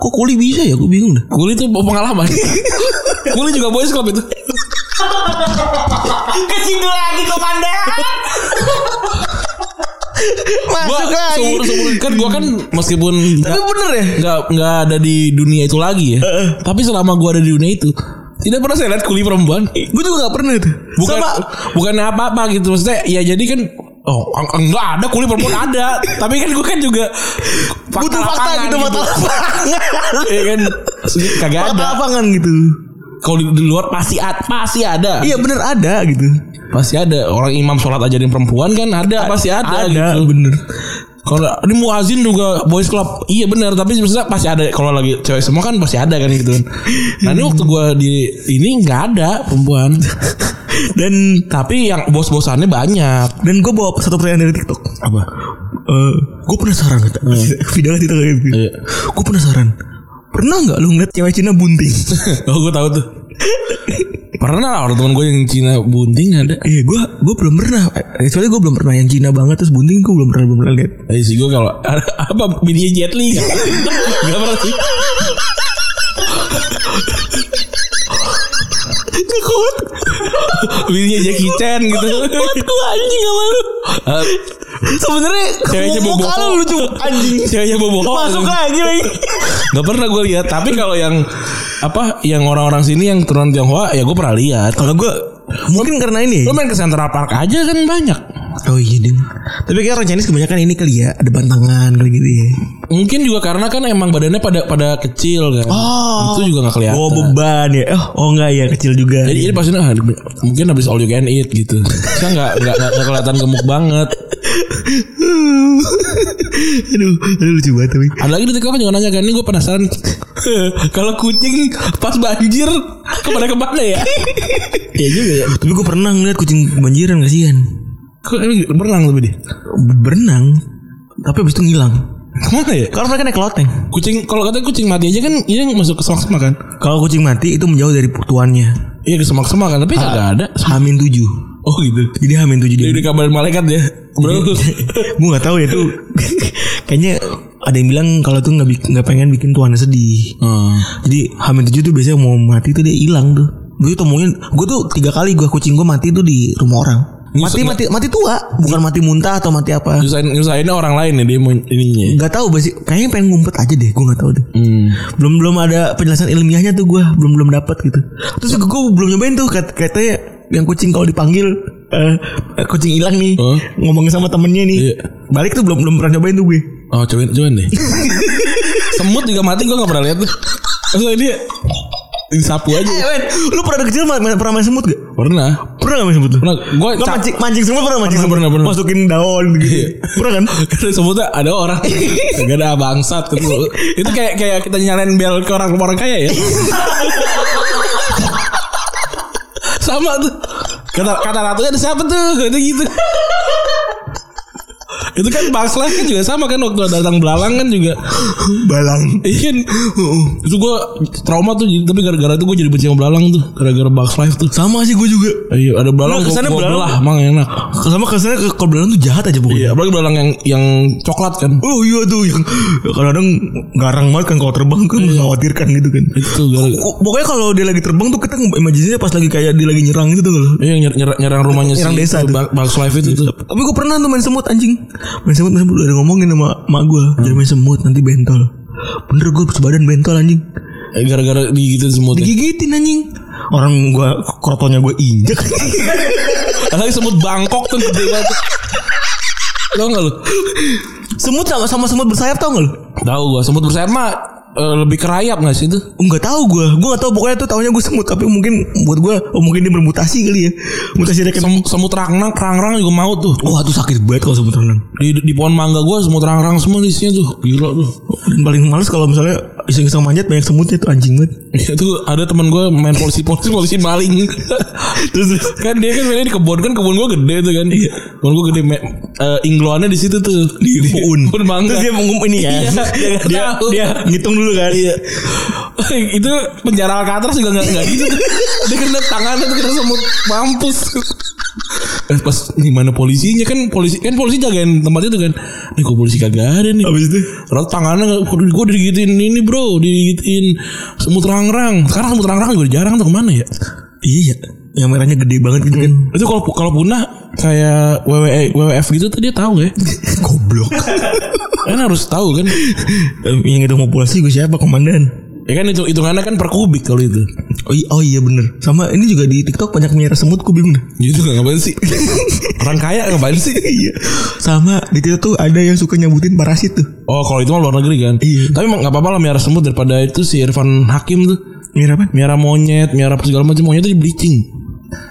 Kok kuli bisa ya? Gue bingung dah kulit tuh pengalaman kulit juga boys club itu Ke situ lagi komandan. gua Masuk lagi seumur seumur kan gua kan meskipun Tapi nggak- bener ya? nggak nggak ada di dunia itu lagi ya tapi selama gua ada di dunia itu tidak pernah saya lihat kuli perempuan Gue juga gak pernah tuh bukan Sama bukan apa apa gitu maksudnya ya jadi kan oh en- enggak ada kuli perempuan ada tapi kan gua kan juga Butuh fakta lapangan gitu Fakta lapangan Iya kan Maksudnya kagak Fakta ada lapangan gitu kalau di, di luar pasti ad- pasti ada Iya bener ada gitu pasti ada orang imam sholat ajarin perempuan kan ada pasti ada, ada, gitu. bener Kalau ini muazin juga boys club. Iya benar, tapi sebenarnya pasti ada kalau lagi cewek semua kan pasti ada kan gitu kan. Nah, ini waktu gua di ini nggak ada perempuan. dan tapi yang bos-bosannya banyak. dan gue bawa satu pertanyaan dari TikTok Apa? Eh, gue penasaran kata video kan TikTok kayak gitu Iya. gue penasaran pernah nggak lu ngeliat cewek Cina bunting Oh, gua tahu tuh. Pernah lah orang teman gue yang Cina bunting ada. iya gue gue belum pernah kecuali gue belum pernah yang Cina banget terus bunting gue belum pernah belum pernah lihat Eh sih gue kalau apa bininya Jet Li nggak Nggak pernah sih. takut Bininya Jackie Chan gitu. gue anjing sama lu Eh, sebenarnya Ceweknya Oh. muka bobo. lu lucu anjing Ceweknya bobo. masuk lagi lagi Gak pernah gue lihat. Tapi kalau yang apa yang orang-orang sini yang turunan Tionghoa ya gue pernah lihat. kalau gue Mungkin karena ini. ya. Lu main ke Central Park aja kan banyak. Oh iya ding. Tapi kayak orang Chinese kebanyakan ini kali ya depan tangan kali gitu ya. Mungkin juga karena kan emang badannya pada pada kecil kan. Oh. Itu juga gak kelihatan. Oh beban ya. Oh, oh enggak ya kecil juga. Jadi ini pasti ah, mungkin habis all you can eat gitu. Saya nggak nggak nggak kelihatan gemuk banget. aduh, aduh lucu banget tapi. Ada lagi detik kan juga nanya kan ini gue penasaran. Kalau kucing pas banjir kemana kemana ya? Iya juga ya. Tapi gue pernah ngeliat kucing kebanjiran kasihan. Kok ini berenang tapi dia? Berenang tapi abis itu ngilang. Kemana ya? Karena mereka naik loteng. Kucing kalau kata kucing mati aja kan ini yang masuk ke semak-semak kan? Kalau kucing mati itu menjauh dari tuannya. Iya ke semak-semak kan tapi kagak ada. Hamin tujuh. Oh gitu. Jadi hamin tujuh Dia dia. udah kabarin malaikat ya. Bro. gue nggak tahu ya tuh. Kayaknya ada yang bilang kalau tuh nggak bi- nggak pengen bikin tuannya sedih. Hmm. Jadi hamil tujuh tuh biasanya mau mati tuh dia hilang tuh. Gue temuin, gue tuh tiga kali gue kucing gue mati tuh di rumah orang. Mati mati mati tua, bukan mati muntah atau mati apa? Nyusahin, nyusahinnya orang lain ya dia mau ininya. Gak tahu basi, kayaknya pengen ngumpet aja deh, gue gak tahu deh. Hmm. Belum belum ada penjelasan ilmiahnya tuh gue, belum belum dapat gitu. Terus gue belum nyobain tuh kat- katanya yang kucing kalau dipanggil eh, kucing hilang nih, Huh? ngomongin sama temennya nih. Iya. Balik tuh belum belum pernah nyobain tuh gue. Oh cobain cobain deh Semut juga mati gue gak pernah lihat tuh Maksudnya dia Disapu Eh, aja men, lu pernah ada kecil ma- ma- pernah main semut gak? Pernah Pernah gak main semut lu? Pernah Gue Lo mancing, mancing semut pernah mancing Pernah, semut? pernah, Iya. pernah. Masukin daun gitu. pernah kan? Karena semutnya ada orang Gak ada bangsat gitu. Itu kayak kayak kita nyalain bel ke orang orang kaya ya Sama tuh Kata, kata ratunya ada siapa tuh Itu gitu itu kan bangslah kan juga sama kan waktu datang belalang kan juga Balang. Iya kan Uh-uh. Itu gue trauma tuh jadi- Tapi gara-gara itu gue jadi benci sama belalang tuh Gara-gara box life tuh Sama sih gue juga. Iya ada Nah, belalang gue kesannya belalang- belah Emang enak Sama kesannya ke- kalau belalang tuh jahat aja pokoknya. Iya apalagi belalang yang yang coklat kan Oh iya tuh yang kadang garang banget kan kalau terbang kan Iya. mengkhawatirkan gitu kan. Itu gara Oh, Pokoknya kalau dia lagi terbang tuh kita imajinasinya pas lagi kayak dia lagi nyerang gitu tuh. Iya yang nyer- nyer- nyerang rumahnya Nyerang si desa itu, tuh. Bang- Bang Life itu tuh Tapi gue pernah tuh main semut anjing. Main semut, main semut udah ngomongin sama mak gue. Jangan main semut nanti bentol. Bener gue sebadan bentol anjing. Eh, Gara-gara digigitin semutnya Digigitin anjing. Orang gue krotonya gue injek. Apalagi semut bangkok tuh gede banget Tau gak lu? semut sama sama semut bersayap tau gak lu? Tau gue semut bersayap mah eh, Lebih kerayap gak sih itu? Enggak tahu gue, gue gak tahu pokoknya tuh tahunya gue semut tapi mungkin buat gue oh mungkin dia bermutasi kali ya, mutasi dia kayak Sem- semut rangrang rangrang juga mau tuh Wah tuh sakit banget kalau semut renang. di, di pohon mangga gue semut rangrang semua isinya tuh gila tuh Dan paling males kalau misalnya iseng-iseng manjat banyak semutnya tuh anjing banget. itu Iya, ada teman gue main polisi polisi polisi maling terus terus. kan dia kan mainnya di kebun kan kebun gue gede tuh kan Iya. kebun gue gede me- eh, ingloannya di situ tuh di, di Puun. pohon mangga Terus dia mengum ini ya. Iya, dia nggak dia, tahu. dia ngitung dulu kan. Iya. itu penjara alcatraz juga nggak nggak gitu tuh. dia kena tangannya tuh kena semut mampus Eh, pas di mana polisinya kan polisi kan polisi jagain tempat itu kan nih kok polisi kagak ada nih Habis itu Terus tangannya gue digigitin ini bro, digigitin semut rangrang. Sekarang semut rangrang juga jarang tuh kemana ya? iya yang merahnya gede banget gitu kan. Itu kalau kalau punah kayak WWE, WWF gitu tuh dia tahu ya. Goblok. Kan harus tahu kan. Em, yang itu mau polisi gue siapa komandan? Ya kan itu hitungannya kan per kubik kalau itu. Oh iya, oh iya bener Sama ini juga di TikTok banyak menyerah semut gue bingung dah. Itu gak Gitu, ngapain sih? Orang kaya ngapain sih? Iya. Sama di TikTok tuh ada yang suka nyebutin parasit tuh. Oh kalau itu mah luar negeri kan. Iya. Tapi emang nggak apa-apa lah miara semut daripada itu si Irfan Hakim tuh. Mira apa? Miara monyet, miara apa segala macam monyet itu di bleaching.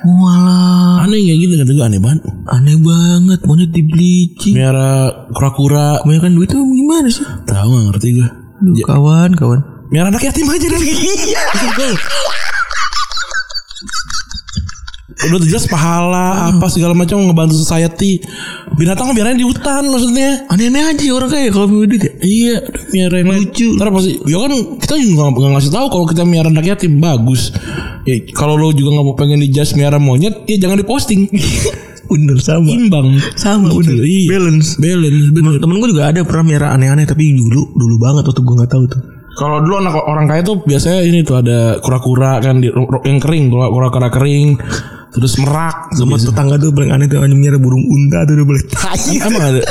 Walah, Aneh ya gitu kata gue aneh banget. aneh banget monyet di bleaching. Miara kura-kura. Kebanyakan duit tuh gimana sih? Tahu nggak ngerti gue. Aduh, kawan, kawan. Biar anak yatim aja deh. Iya. Udah tuh jelas pahala apa segala macam ngebantu society. Binatang biarin di hutan maksudnya. Aneh-aneh aja orang kayak kalau punya duit ya. Iya, biar yang lain. Lucu. Ntar pasti, ya kan kita juga nggak nggak ngasih tahu kalau kita miara anak yatim bagus. Ya, kalau lo juga nggak mau pengen dijas miara monyet, ya jangan diposting. Bener sama. Imbang. Sama Gitu, bener. iya. Balance. Balance. bener. Temen, temen gue juga ada pernah miara aneh-aneh tapi dulu dulu banget waktu gue nggak tahu tuh. Kalau dulu anak orang kaya tuh biasanya ini tuh ada kura-kura kan di, yang kering, kura-kura kering, terus merak. Sama tetangga Ah, tuh paling aneh tuh anjing miara burung unta tuh udah boleh tai. Emang ada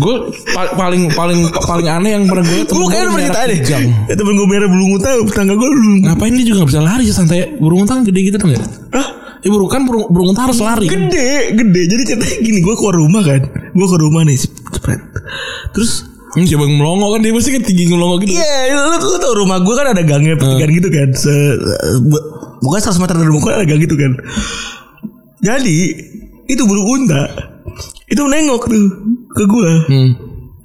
gue pa- paling paling paling aneh yang pernah gue Gue temen kayaknya gua pernah cerita jarak deh. jam. Ya, Temen gue merah belum ngutang, tetangga gue belum. Ngapain dia juga gak bisa lari sih santai Burung unta gede gitu dong ya Hah? Eh burung kan burung, burung unta harus lari kan. Gede, gede. Jadi ceritanya gini, gue keluar rumah kan. Gue ke rumah nih, cepet. Terus Hmm, si bang melongo kan dia pasti kan tinggi melongo gitu Iya, lu, lu tau rumah gue kan ada gangnya pertigaan gitu kan. Se, bu- bukan 100 meter dari rumah gue ada gang gitu kan. Jadi itu burung unta itu nengok tuh ke gue. hmm.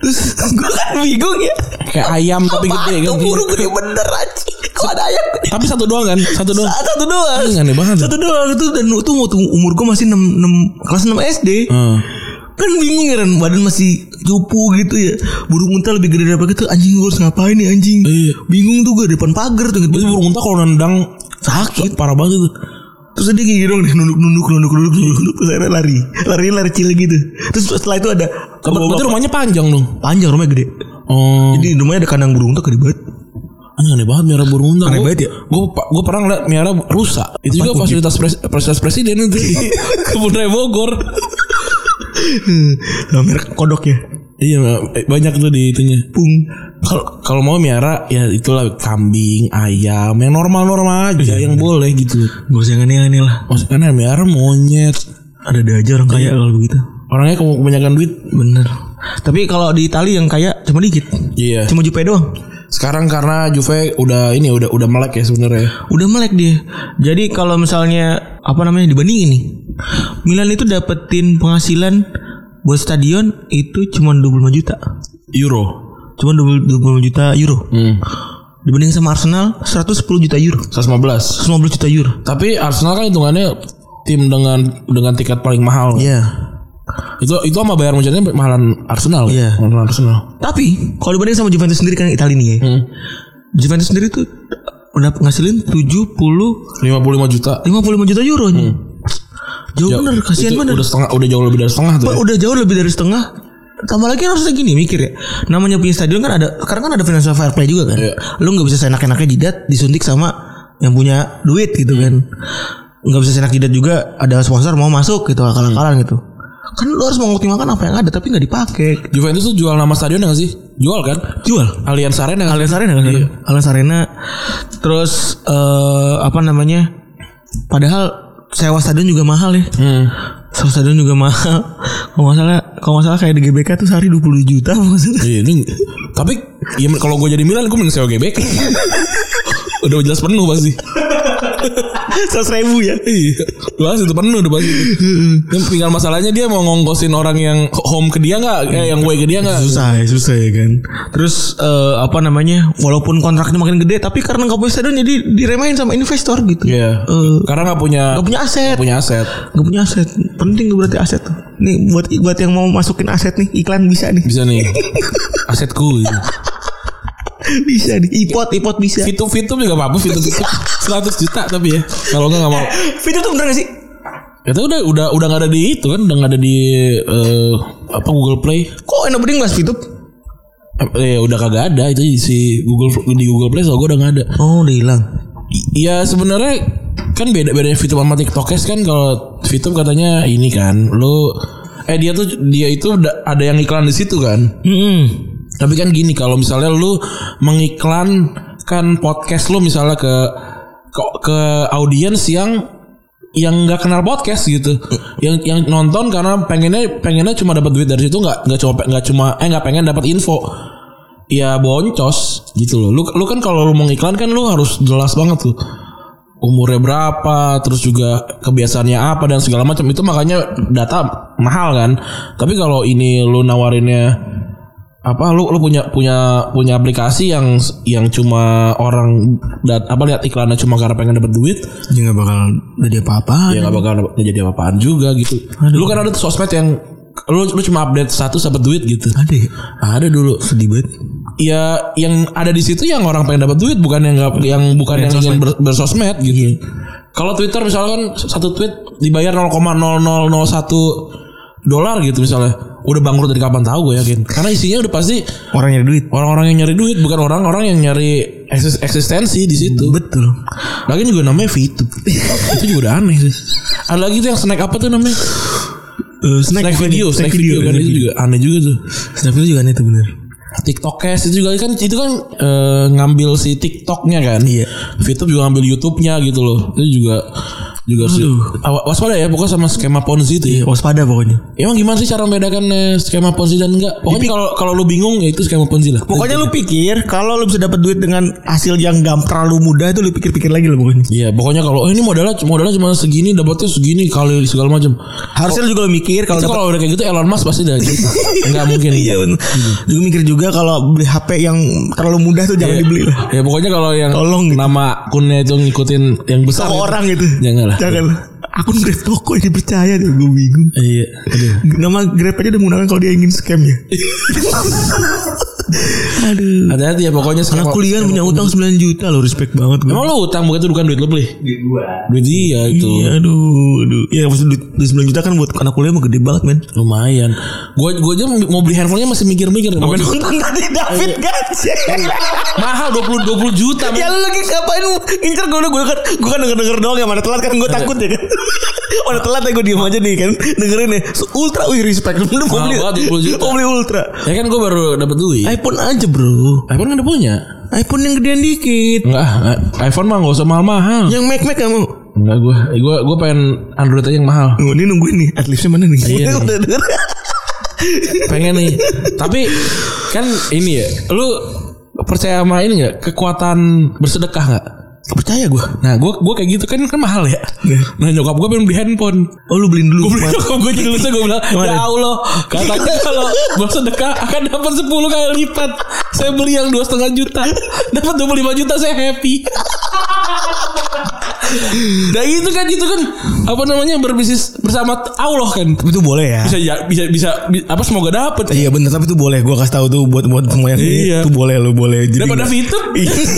Terus gue kan bingung ya. Kayak ayam tapi Apaan gede tuh kan burung gede bener aja. Kok ada ayam gede? Tapi satu doang kan Satu doang Saat satu doang. Anjing, aneh banget. Satu doang itu dan itu waktu umur gue masih 6, 6 kelas 6 SD. Hmm. Kan bingung ya Ren, badan masih cupu gitu ya. Burung unta lebih gede daripada kita. Anjing gue harus ngapain nih anjing? Iya. Bingung tuh gue depan pagar tuh. gitu. Itu burung unta kalau nendang sakit Parah banget itu terus dia kayak gitu dong nunduk nunduk nunduk nunduk nunduk nunduk terus akhirnya lari lari lari kecil gitu terus setelah itu ada Berarti rumahnya panjang dong panjang rumahnya gede Oh jadi rumahnya ada kandang burung tuh gede banget Anjing aneh banget miara burung unta. Aneh Gua- banget ya? Gua gua pernah ngeliat miara rusak. Itu juga fasilitas pres- fasilitas presiden itu di kebun raya Bogor. sama merek kodok ya iya eh, banyak tuh di itunya. pung Kalau kalau mau miara ya itulah kambing, ayam yang normal-normal aja Iya, yang boleh gitu. gak usah yang aneh aneh lah Iya. Maksudnya kan miara monyet. ada ada aja orang kaya kalau begitu Orangnya kalau kebanyakan duit. bener tapi kalau di Itali yang kaya cuma dikit Iya. cuma Jupe doang Sekarang karena Juve udah ini udah udah melek ya sebenarnya. udah melek dia jadi kalau misalnya apa namanya dibandingin nih Milan itu dapetin penghasilan buat stadion itu cuma 25 juta Euro. cuma 20 20 juta euro Hmm. dibanding sama Arsenal 110 juta euro 115. 150 juta euro Tapi Arsenal kan hitungannya tim dengan dengan tiket paling mahal. Iya Itu itu sama bayar Munchennya mahalan Arsenal. Iya. ya? Mahalan Arsenal. tapi kalau dibanding sama Juventus sendiri kan Italia nih ya Hmm. Juventus sendiri tuh udah ngasilin 70 55 55 juta. juta euro jauh bener kasihan Hmm. Ya, Itu bener Udah setengah udah jauh lebih dari setengah tuh. udah, ya. jauh lebih dari setengah tambah lagi harusnya gini mikir ya namanya punya stadion kan ada sekarang kan ada financial fair play juga kan Iya. lu nggak bisa seenak-enaknya jidat disuntik sama yang punya duit gitu kan nggak bisa seenak jidat juga ada sponsor mau masuk gitu akal-akalan gitu kan lu harus mengoptimalkan apa yang ada tapi nggak dipakai Juventus tuh jual nama stadion enggak sih? Jual kan? jual Allianz Arena kan? Allianz Arena kan Allianz Arena terus eh, apa namanya padahal sewa stadion juga mahal ya Hmm. Sewa stadion juga mahal Kalau nggak salah Kalau nggak salah kayak di GBK tuh sehari 20 juta maksudnya Iya, ini tapi ya kalau gue jadi Milan gue mending sewa GBK. udah jelas penuh pasti. 100 ribu ya Iya, jelas itu penuh udah pasti. Hmm. Kan Tinggal masalahnya dia mau ngongkosin orang yang home ke dia nggak, eh, yang gue ke dia nggak. Susah ya susah ya kan Terus eh, apa namanya Walaupun kontraknya makin gede Tapi karena nggak punya stadion Jadi diremahin sama investor gitu Iya. Eh, Karena nggak punya Nggak punya aset nggak punya aset. Nggak punya aset Penting tuh berarti aset tuh Nih buat buat yang mau masukin aset nih Iklan bisa nih Bisa nih. Asetku. Gitu. Bisa nih Ipot ipot bisa Fitup fitup juga apa-apa fitup fitup 100 juta tapi ya. Kalau enggak enggak mau. Fit tuh bener gak sih? Itu udah udah udah enggak ada di itu kan, udah enggak ada di eh, apa Google Play. Kok enak bening mas Fitup? Eh, udah kagak ada itu si Google di Google Play soalnya gue udah enggak ada. Oh udah hilang I- Ya sebenarnya kan beda bedanya Fitup sama TikTokes kan kalau Fitup katanya ini kan lu eh dia tuh dia itu udah- ada yang iklan di situ kan. Tapi kan gini kalau misalnya lu mengiklankan podcast lu misalnya ke ke, ke audiens yang yang nggak kenal podcast gitu, yang yang nonton karena pengennya pengennya cuma dapat duit dari situ nggak nggak cuma nggak cuma eh nggak pengen dapat info, ya boncos gitu loh. Lu lu kan kalau lu mau iklan kan lu harus jelas banget tuh umurnya berapa, terus juga kebiasaannya apa dan segala macam itu makanya data mahal kan. Tapi kalau ini lu nawarinnya apa lu lu punya punya punya aplikasi yang yang cuma orang dat, apa lihat iklannya cuma karena pengen dapet duit Ya gak bakal jadi apa-apa ya nggak bakal dapet- jadi apa-apaan juga gitu. Lu kan ada tuh sosmed yang lu, lu cuma update status dapat duit gitu. Ada ya? Ada dulu Sedih banget ya yang ada di situ yang orang pengen dapat duit bukan yang nggak- yang bukan yang ingin ber- bersosmed gitu. Kalau Twitter misalkan satu tweet dibayar 0,0001 dolar gitu misalnya. Udah bangkrut dari kapan tahu gue yakin. Karena isinya udah pasti Orang nyari duit orang-orang yang nyari duit bukan orang-orang yang nyari eksis- eksistensi di situ. Betul Lagi juga namanya Vtube. Itu juga udah aneh sih. Ada lagi tuh yang snack apa tuh namanya? eh, Snack, snack, video, snack video, kan itu juga aneh juga tuh. Snack video juga aneh tuh bener. TikTokers itu juga kan itu kan eh, ngambil si TikToknya kan. Iya. Fitup juga ngambil YouTube-nya gitu loh. Itu juga juga harus di- awa- waspada ya pokoknya sama skema ponzi itu ya. Waspada pokoknya. Emang gimana sih cara membedakan eh, skema ponzi dan enggak? Pokoknya kalau kalau lu bingung ya itu skema ponzi lah. Pokoknya lu pikir kalau lu bisa dapat duit dengan hasil yang gam terlalu mudah itu lu pikir-pikir lagi lah pokoknya. Iya, pokoknya kalau oh, ini modalnya modalnya cuma segini, dapatnya segini kali segala macam. Harusnya lu juga mikir kalau Itu dapat kalau udah kayak gitu Elon Musk pasti udah gitu. Enggak mungkin. Iya bener. Juga mikir juga kalau beli HP yang terlalu mudah tuh jangan dibeli lah. Ya pokoknya kalau yang Tolong gitu. nama akunnya itu ngikutin yang besar. Sama gitu. orang gitu. Jangan lah. Jangan lah. Akun Grab toko ini percaya deh gue bingung. Iya. Aduh. Nama Grab aja udah menggunakan kalau dia ingin scam ya. Aduh. Hati-hati ya pokoknya Anak kuliah punya utang 9 juta loh respect banget gue. Emang lu utang bukan itu bukan duit lu beli. Duit gua. Duit dia itu. Iya, aduh, aduh. Ya maksud duit, duit 9 juta kan buat anak kuliah mah gede banget, men. Lumayan. Gua gua aja mau beli handphonenya masih mikir-mikir. Mau- nonton tadi David gaji. Mahal 20 20 juta. men. ya lu lagi ngapain incer gue gue kan gue kan denger denger doang ya mana telat kan gue takut ya kan mana telat ya gue diem aja nih kan dengerin ya Se- ultra wih respect lu mau Mahal beli banget, 20 juta. mau beli ultra Ya kan gua baru dapat duit. iPhone aja bro iPhone kan udah punya. iPhone yang gedean dikit Enggak, ah, iPhone mah enggak usah mahal-mahal. yang Mac Mac kamu Enggak gua, eh, gua gua pengen Android aja yang mahal. oh, ini nungguin nih atletnya mana nih Iya. udah denger Pengen nih. Tapi kan ini ya, lu percaya sama ini enggak? Kekuatan bersedekah enggak? percaya gue Nah, gua gua kayak gitu kan kan mahal ya. Iya. Nah, nyokap gua pengen beli handphone. oh lu beliin dulu Gue beli toko gue jadi lusa gue bilang Ya Allah Katanya kalau bersedekah akan dapat 10 kali lipat Saya beli yang 2,5 juta Dapat 25 juta saya happy Nah itu kan itu kan Apa namanya berbisnis bersama Allah kan tapi itu boleh ya Bisa ya, bisa bisa bi- apa semoga dapat Iya bener tapi itu boleh Gue kasih tahu tuh buat buat semua yang ini Iya. Itu boleh lu boleh Jadi Iya. Daripada fitur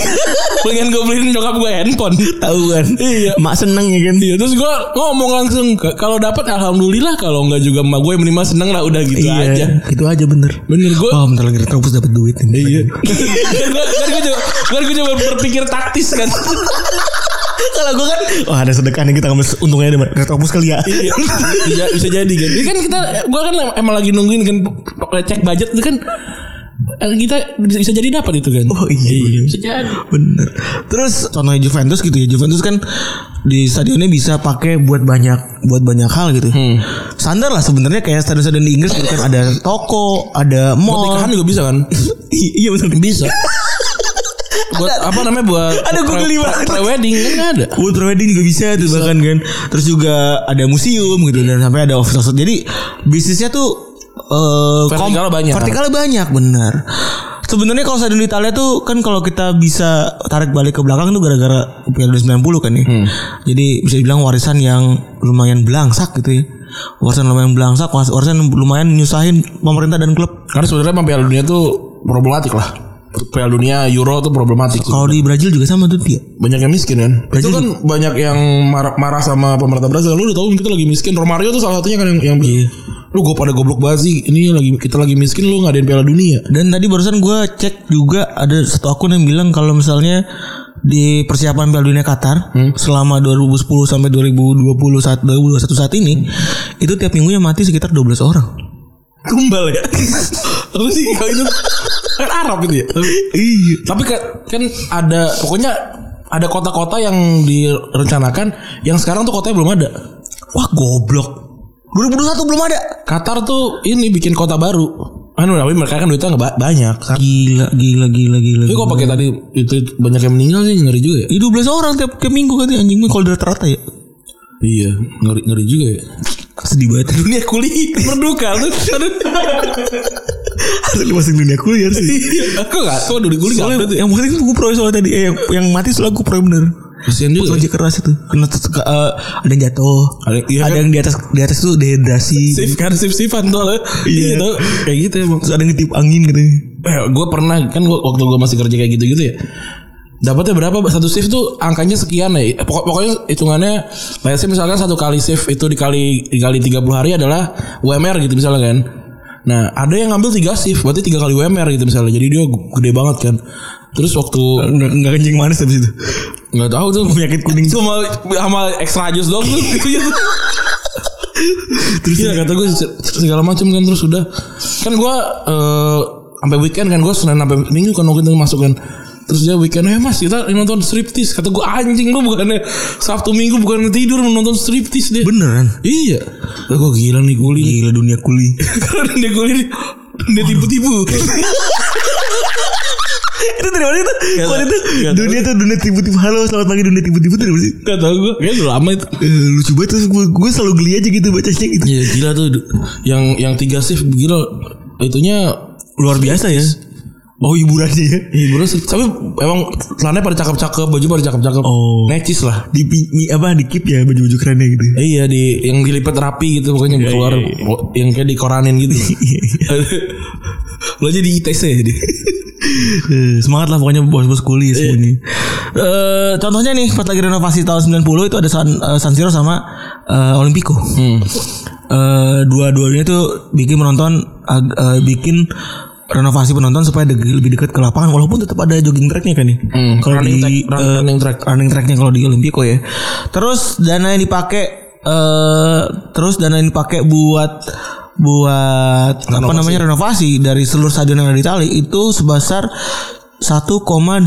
Pengen gue beliin nyokap gue handphone tahu kan Iya. Mak seneng ya kan Iya terus gue ngomong langsung "K- Kalau dapat alhamdulillah Kalau enggak juga emak gue yang menerima seneng lah Udah gitu aja Iya, Itu aja bener Bener gue Wah bentar lagi terobos dapat duit ini. Iya. kan gue kan gue coba kan gue coba berpikir taktis kan. Kalau gue kan Wah ada sedekah nih kita ngambil untungnya deh Retropus kali ya Iya. bisa, bisa jadi kan. Jadi kan kita gue kan emang lagi nungguin kan cek budget itu kan eh, kita bisa, bisa jadi dapat itu kan. Oh iya, bener. Bisa jadi. Bener Terus Contohnya Juventus gitu ya Juventus kan Di stadionnya bisa pakai buat banyak Buat banyak hal gitu Standar lah sebenarnya Kayak stadion-stadion di Inggris gitu kan Ada toko Ada Buat nikahan mall juga bisa kan? I- Iya bener Bisa. buat apa namanya buat Ada gua geli banget. wedding kan nggak ada. Ultra wedding juga bisa tuh bahkan kan. Terus juga ada museum gitu dan sampai ada office office. Jadi bisnisnya tuh eh kom- Vertikalnya banyak. Vertikalnya banyak bener. Sebenarnya kalau stadion di Italia tuh kan kalau kita bisa tarik balik ke belakang tuh gara-gara Piala Dunia 90 kan ya. Hmm. Jadi bisa dibilang warisan yang lumayan belangsak gitu ya. Warisan lumayan belangsak, waris- warisan lumayan nyusahin pemerintah dan klub. Karena sebenarnya emang Piala Dunia tuh problematik lah. Piala Dunia Euro tuh problematik. Kalau di Brazil juga sama tuh dia. banyak yang miskin kan itu kan banyak yang marah, marah sama pemerintah Brazil lu udah tahu kita lagi miskin Romario tuh salah satunya kan yang, yang lu gue pada goblok banget sih ini lagi kita lagi miskin lu ngadain piala dunia Dan tadi barusan gue cek juga ada satu akun yang bilang kalau misalnya di persiapan Piala Dunia Qatar Hmm? selama 2010 sampai 2020 saat 2021 saat ini itu tiap minggunya mati sekitar 12 orang. tumbal ya lu sih kalau itu kan Arab itu ya Iya. tapi kan, kan ada pokoknya ada kota-kota yang direncanakan yang sekarang tuh kotanya belum ada Wah goblok. 2021 belum ada. Qatar tuh ini bikin kota baru anu tapi mereka kan duitnya nggak ba- banyak Gila gila gila gila. tapi kok gila. pakai tadi itu banyak yang meninggal sih ngeri juga ya Ih, 12 orang tiap, tiap minggu kan anjing kalau di rata-rata ya. iya ngeri ngeri juga ya Sedih banget. dunia kuliah berduka tuh. Aduh. Asli masuk dunia kuliah sih. Aku enggak tahu dunia kuliah enggak update ya. Soalnya yang penting gue proy soalnya tadi eh, yang, yang mati soalnya gue proy bener. Kasihan juga. kerja keras itu kena tes- ke- eh, ada yang jatuh Ada- ada, iya kan? yang di atas di atas itu dehidrasi Sif kan sif sifan tuh lah. Iya. Iya. Tahu kayak gitu emang. terus ada yang ngetiup angin gitu Eh, gue pernah kan gua, waktu gue masih kerja kayak gitu-gitu ya. Dapatnya berapa satu shift tuh angkanya sekian ya. Pokok, pokoknya hitungannya let's say misalkan satu kali shift itu dikali dikali 30 hari adalah UMR gitu misalnya kan. Nah, ada yang ngambil tiga shift, berarti tiga kali UMR gitu misalnya. Jadi dia gede banget kan. Terus waktu nggak nggak kencing manis habis itu nggak tahu tuh penyakit kuning Iya cuma sama extra jus doang tuh gitu terus iya, ya, kata gue se- segala macam kan terus udah kan gue eh, sampai weekend kan gue senin sampai minggu kan waktu itu masuk kan terus dia weekend eh mas kita nonton striptease kata gue anjing lu bukannya sabtu minggu bukan tidur menonton striptease dia Beneran. iya kata gue gila nih kuli Gila dunia kuli. karena dia kuli dia tipu-tipu itu dari mana itu? Gak Waktu tau, itu gak tau. dunia tuh dunia tipu-tipu. Halo, selamat pagi dunia tipu-tipu tuh dari mana sih? Gak tau gue Kayaknya udah lama itu Eh, lucu banget terus gue, gue selalu geli aja gitu bacanya gitu. Iya gila tuh Yang yang tiga shift gila Itunya Luar biasa ya. Oh hiburannya ya. Hiburan sih Tapi emang Celananya pada cakep-cakep Baju pada cakep-cakep Oh. Necis lah Di, pi- di- apa di keep ya baju-baju kerennya gitu. Eh, Iya di Yang dilipat rapi gitu Pokoknya Iya, keluar Yang kayak dikoranin gitu Lo jadi ITC ya jadi Eh, Semangat lah pokoknya bos-bos kuli semuanya. Iya. Eh, contohnya nih pas lagi renovasi tahun 90 itu ada San, eh, San Siro sama eh, Olimpico. Eh, dua-duanya tuh bikin menonton ag- eh, bikin renovasi penonton supaya de- lebih dekat ke lapangan walaupun tetap ada jogging tracknya kan nih. Hmm, Kalau di running track- run- eh, running track. running tracknya kalau di Olimpico ya. Terus dana yang dipakai eh terus dana yang dipakai buat buat apa namanya renovasi dari seluruh stadion yang ada di Itali itu sebesar 1,25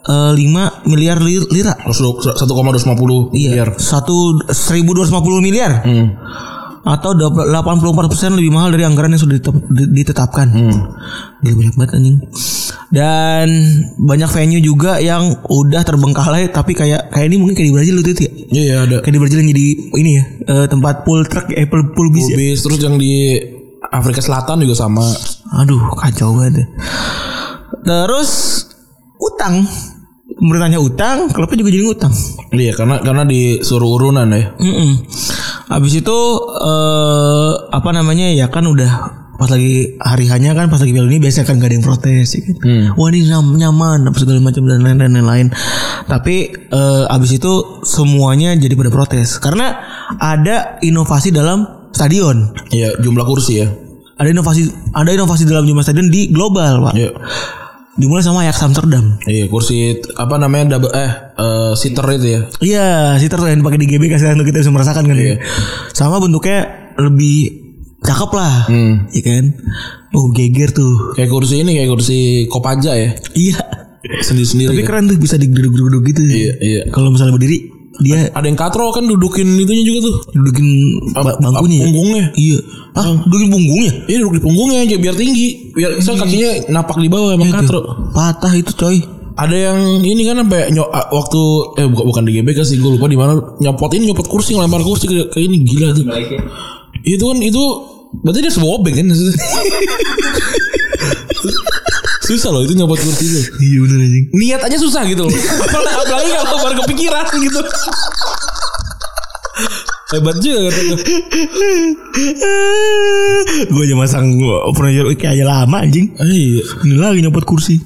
eh, miliar li- lira. 1,250 miliar Iya, satu 1.250 miliar hmm. atau 84% lebih mahal dari anggaran yang sudah ditep- di- ditetapkan. Gila banyak banget anjing. Dan banyak venue juga yang udah terbengkalai tapi kayak kayak ini mungkin kayak di Brazil waktu itu ya. Iya iya, ada Kayak di Brazil yang jadi ini ya, eh, tempat pool truck eh pool, pool bis ya. Kubis Terus yang di Afrika Selatan juga sama Aduh, kacau banget. ya. Terus utang pemerintahnya utang, klubnya juga jadi utang. Iya karena karena disuruh urunan ya Mm-mm. Habis itu eh apa namanya ya kan udah pas lagi hari hanya kan pas lagi piala ini biasanya kan gak ada yang protes ya kan. Wah ini nyam- nyaman apa segala macam dan lain dan lain-lain. Tapi eh abis itu semuanya jadi pada protes karena ada inovasi dalam stadion. Iya jumlah kursi ya Ada inovasi ada inovasi dalam jumlah stadion di global, Pak. Iya Dimulai sama Ajax Amsterdam. Iya kursi t- apa namanya double eh eh, seater itu ya. Iya, sitter tuh yang dipakai di GBK sekarang tuh kita bisa merasakan kan ya. Sama bentuknya lebih cakep lah, Iya kan? Oh geger tuh, Kayak kursi ini kayak kursi kopaja ya. iya. Sendiri-sendiri. Tapi kan. keren tuh bisa digeduk-geduk gitu. Iya, iya. Kalau misalnya berdiri, dia Ada yang katro kan dudukin itunya juga tuh. dudukin ba- bangkunya. ya? Punggungnya. Iya. Ah, dudukin punggungnya? Iya duduk di punggungnya aja biar tinggi. Biar so kakinya napak di bawah emang Iya. katro. Patah itu coy. Ada yang ini kan sampai nyo- a- waktu eh bukan bukan di GBK sih gue lupa di mana nyopot ini nyopot kursi ngelempar kursi ke, ke ini gila tuh. Itu kan itu berarti dia sebuah obeng kan. Susah loh itu nyopot kursi itu. Iya bener anjing. niat aja susah gitu loh. Apalagi kalau baru kepikiran gitu. Hebat juga kata gue. gue aja masang furniture IKEA aja lama anjing. Iya. Ini lagi nyopot kursi.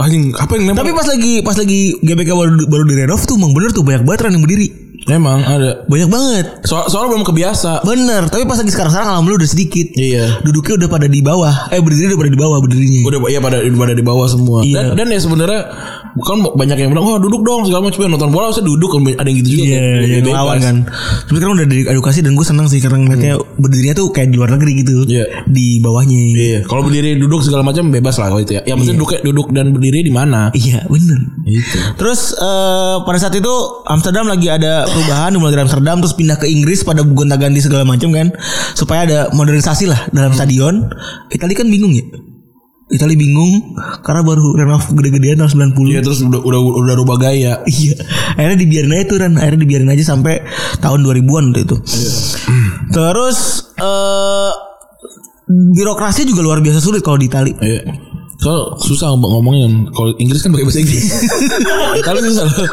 Anjing, apa yang nempel? Tapi pas lagi pas lagi GBK baru baru direnov tuh emang bener tuh banyak banget orang yang berdiri. Emang ada. Banyak banget. So soalnya belum kebiasa. Bener, tapi pas lagi sekarang-sekarang alhamdulillah udah sedikit. Iya. Duduknya udah pada di bawah. Eh berdiri udah pada di bawah berdirinya. Udah ya pada pada di bawah semua. Iya. Dan, dan ya sebenarnya bukan banyak yang bilang, "Wah, duduk dong." Segala macam Ya, nonton bola usah duduk. Ada yang gitu juga. Iya, Kayak yang bebas. lawan kan. Tapi sekarang udah dari edukasi dan gue seneng sih karena ngeliatnya berdirinya tuh kayak di luar negeri gitu. Iya. Di bawahnya. Iya, kalau berdiri duduk segala macam bebas lah kalau itu ya. Yang penting duduk duduk dan berdiri di mana. Iya, bener. Gitu. Terus eh, pada saat itu Amsterdam lagi ada perubahan mulai dari Amsterdam terus pindah ke Inggris pada gonta-ganti segala macam kan supaya ada modernisasi lah dalam stadion. Italia kan bingung ya. Italia bingung karena baru renov gede-gedean tahun 90. Iya, terus udah udah udah rubah gaya. Iya, akhirnya dibiarin aja tuh Ran, akhirnya dibiarin aja sampai tahun 2000-an waktu itu. Iya. Terus eh birokrasi juga luar biasa sulit kalau di Itali. Iya. Kalau susah ngom- ngomongin kalau Inggris kan pakai bahasa Inggris. Italia susah loh.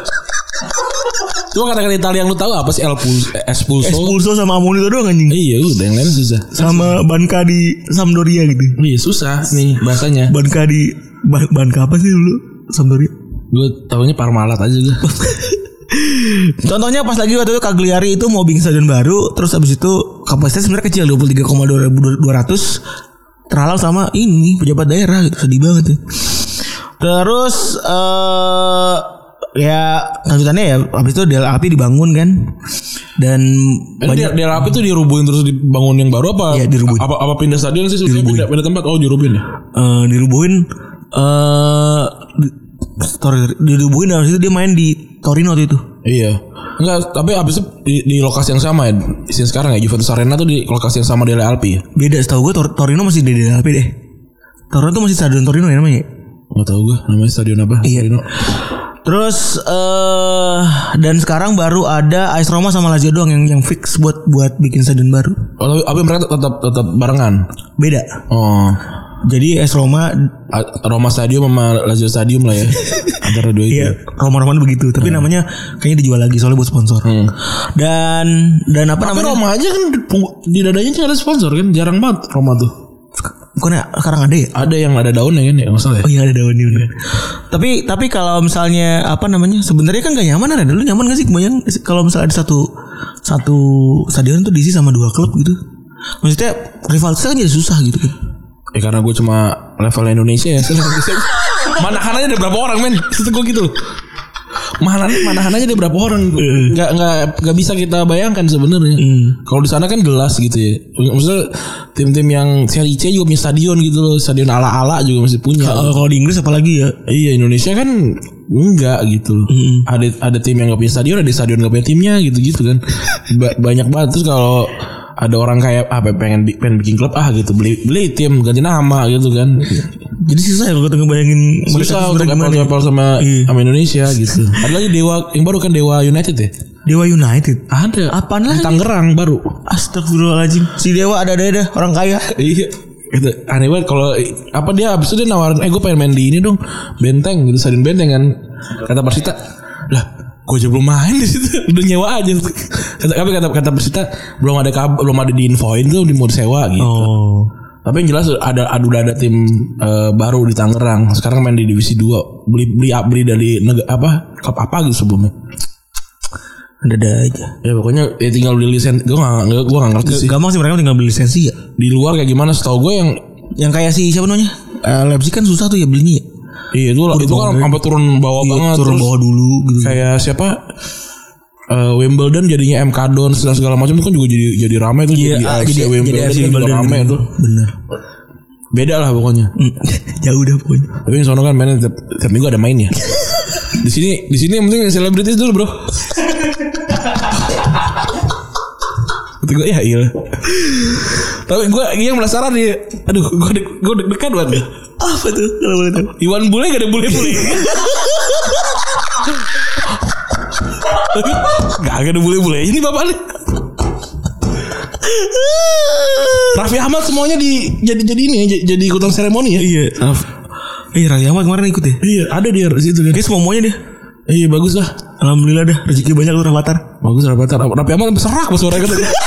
Cuma kata-kata Italia yang lu tahu apa sih El Pulso, S Pulso? Expulso sama Amon itu doang anjing. Iya, udah yang lain susah. Sama Banka di Sampdoria gitu. Iya, susah nih bahasanya. Banka di Ban- Banka apa sih dulu Sampdoria? Gue tahunya Parmalat aja gue. Contohnya pas lagi waktu itu Cagliari itu mau bikin stadion baru, terus habis itu kapasitas sebenarnya kecil 23,200 terhalang sama ini pejabat daerah gitu sedih banget ya. Terus eh ya lanjutannya ya habis itu Del Api dibangun kan dan Ini banyak daerah apa itu dirubuhin terus dibangun yang baru apa? Iya, dirubuhin. Apa, apa pindah stadion sih? Sudah Pindah, pindah tempat. Oh, dirubuhin ya. eh, dirubuhin eh di- sorry, dirubuhin dan habis itu dia main di Torino waktu itu Iya. Enggak, tapi abis itu di, di lokasi yang sama ya. Isin sekarang ya Juventus Arena tuh di lokasi yang sama di Alpi. ya? beda setahu gue Tor- Torino masih di Del Api deh Torino tuh masih stadion Torino ya namanya ya? Enggak tahu gue namanya stadion apa. Iya. Torino. Terus eh dan sekarang baru ada AS Roma sama Lazio doang yang yang fix buat buat bikin stadion baru. Oh, tapi, tapi mereka tetap tetap barengan. Beda. Oh. Jadi AS Roma A- Roma Stadium sama Lazio Stadium lah ya. Iya. Antara dua itu. ya Roma-Roma begitu, tapi namanya kayaknya dijual lagi soalnya buat sponsor. Dan dan apa Tapi namanya? Roma aja kan di- di dadanya kan ada sponsor kan jarang banget Roma tuh. Bukannya sekarang ada ya? Ada yang ada daunnya kan ya nggak salah ya. Oh iya ada daun ini. Tapi tapi kalau misalnya apa namanya? Sebenarnya kan gak nyaman ada dulu nyaman gak sih kebayang nggak sih? kalau misalnya ada satu satu stadion tuh diisi sama dua klub gitu. Maksudnya rivalitas kan jadi susah gitu kan. Ya karena gue cuma level Indonesia ya. manahan aja ada berapa orang men? Itu gue gitu loh. Manahan manahan aja ada berapa orang? Nggak nggak nggak bisa kita bayangkan sebenarnya. Kalau di sana kan jelas gitu ya. Maksudnya tim-tim yang seri C juga punya stadion gitu loh. Stadion ala-ala juga masih punya. gitu. Kalau kalau di Inggris apalagi ya Iya Indonesia kan enggak gitu loh. Ada ada tim yang nggak punya stadion, ada stadion nggak punya timnya gitu-gitu kan. Ba- banyak banget terus kalau ada orang kayak ah pengen bi- pengen bikin klub ah gitu beli beli tim ganti nama gitu kan. Jadi susah ya kalau kita ngebayangin mereka Susah untuk sebenarnya apple gimana. to ya. apple sama Iya. sama Indonesia gitu. Ada lagi Dewa yang baru kan Dewa United ya? Dewa United. Ada. Apaan Di lagi? Tangerang baru. Astagfirullahaladzim. Si Dewa ada ada ada orang kaya. Iya. Itu aneh banget kalau apa dia abis itu dia nawarin eh gue pengen main di ini dong benteng gitu stadion benteng kan kata Persita lah gue aja belum main di situ udah nyewa aja kata tapi kata kata Persita belum ada kab- belum ada diinfoin tuh di mau sewa gitu Oh. tapi yang jelas ada ada udah ada tim eh, baru di Tangerang sekarang main di divisi 2 beli beli beli dari nega, apa klub apa gitu sebelumnya Ada ada aja. ya pokoknya ya tinggal beli lisensi gue gak gue gak ngerti sih Eh, Gampang sih mereka tinggal beli lisensi ya. di luar kayak gimana setahu gue yang Yang kayak si siapa namanya? Eh, Leipzig kan susah tuh ya belinya. ya. Iya itu itu kan sampai turun bawah banget Iya, turun terus bawah dulu gitu. kayak siapa eh, Wimbledon jadinya MK Don segala, segala macam itu kan juga jadi jadi ramai tuh jadi ah, AFC Wimbledon AFC kan juga Wimbledon. gitu. ramai tuh Bener. beda lah pokoknya Mm. Jauh dah pokoknya. tapi yang sono kan mainnya tiap, tiap minggu ada mainnya di sini di sini yang penting selebritis dulu bro Kata gue ya iya tapi gue yang penasaran nih aduh gue deg gue deg-degan banget nih. Apa tuh? Kalau boleh tahu. Iwan bule gak ada bule-bule Gak ada bule-bule Ini bapak nih Raffi Ahmad semuanya di jadi jadi ini ya, jadi- jadi ikutan seremoni ya. Iya. Eh Raffi Ahmad kemarin ikut ya. Iya, ada dia di situ kan. Guys semuanya dia. Iya, bagus lah. Alhamdulillah dah rezeki banyak tuh Rafathar. Bagus Raffi Ahmad. Raffi Ahmad serak pas suaranya kata dia.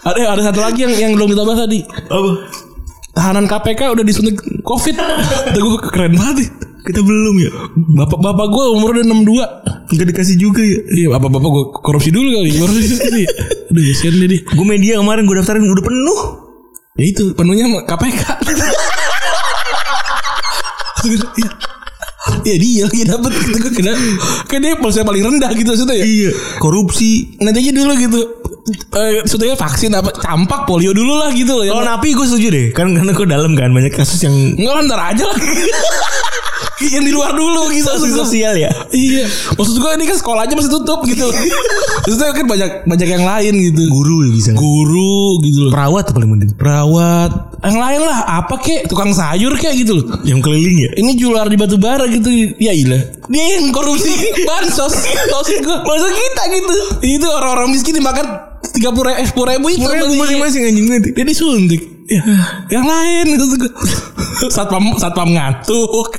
ada ada satu lagi yang yang belum kita bahas tadi. Apa? Tahanan KPK udah disuntik Covid. Kata gue keren banget. nih. Kita belum ya. Bapak bapak gue umurnya udah 62 Enggak dikasih juga ya. Iya bapak bapak gue korupsi dulu kali Baru di sini Aduh kasihan dia dia. Gue media kemarin gue daftarin udah penuh. Ya itu penuhnya sama KPK Iya. Ya dia lagi dapet gitu gue kena Kan dia polisi paling rendah gitu maksudnya ya Iya. Korupsi. Nanti aja dulu gitu Eh, Maksudnya vaksin apa Campak polio dulu lah gitu loh Kalau Yang- napi gue setuju deh. Kan karena gue dalam kan banyak kasus yang Enggak lah ntar aja lah Yang di luar dulu gitu kasus maksudnya. sosial ya. Iya, maksud gue ini kan sekolahnya masih tutup gitu. Maksudnya kan banyak banyak yang lain gitu. Guru ya bisa. Guru gitu loh. Perawat paling penting. Perawat, yang lain lah. Apa kek, tukang sayur kek gitu loh. Yang keliling ya. Ini jualan di batu bara gitu. Ya ilah. Dia yang korupsi bansos. Maksud gue. Maksud kita gitu. Itu orang-orang miskin dimakan tiga puluh ribu, sepuluh ribu itu. Mereka Maksudnya. masing-masing anjing nanti. Dia disuntik. Ya, yang lain itu tuh. Satpam satpam ngantuk.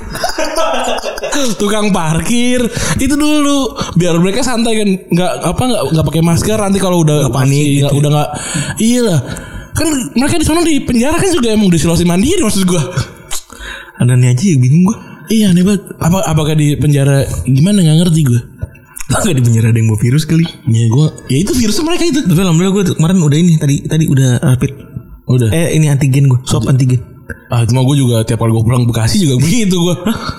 Tukang parkir itu dulu biar mereka santai kan nggak apa nggak nggak pakai masker nanti kalau udah panik gitu udah nggak iya lah kan mereka di sana di penjara kan juga emang diisolasi mandiri maksud gua Ada nih aja ya bingung gue. iya nih banget apa apakah di penjara gimana nggak ngerti gua Gak di penjara ada yang bawa virus kali. ya gua ya itu virus mereka itu Tapi alhamdulillah gue kemarin udah ini tadi tadi udah rapid. Oh, udah Eh ini antigen gue. Swab antigen. Ah, cuma gue juga tiap kali gue pulang Bekasi juga begitu gue.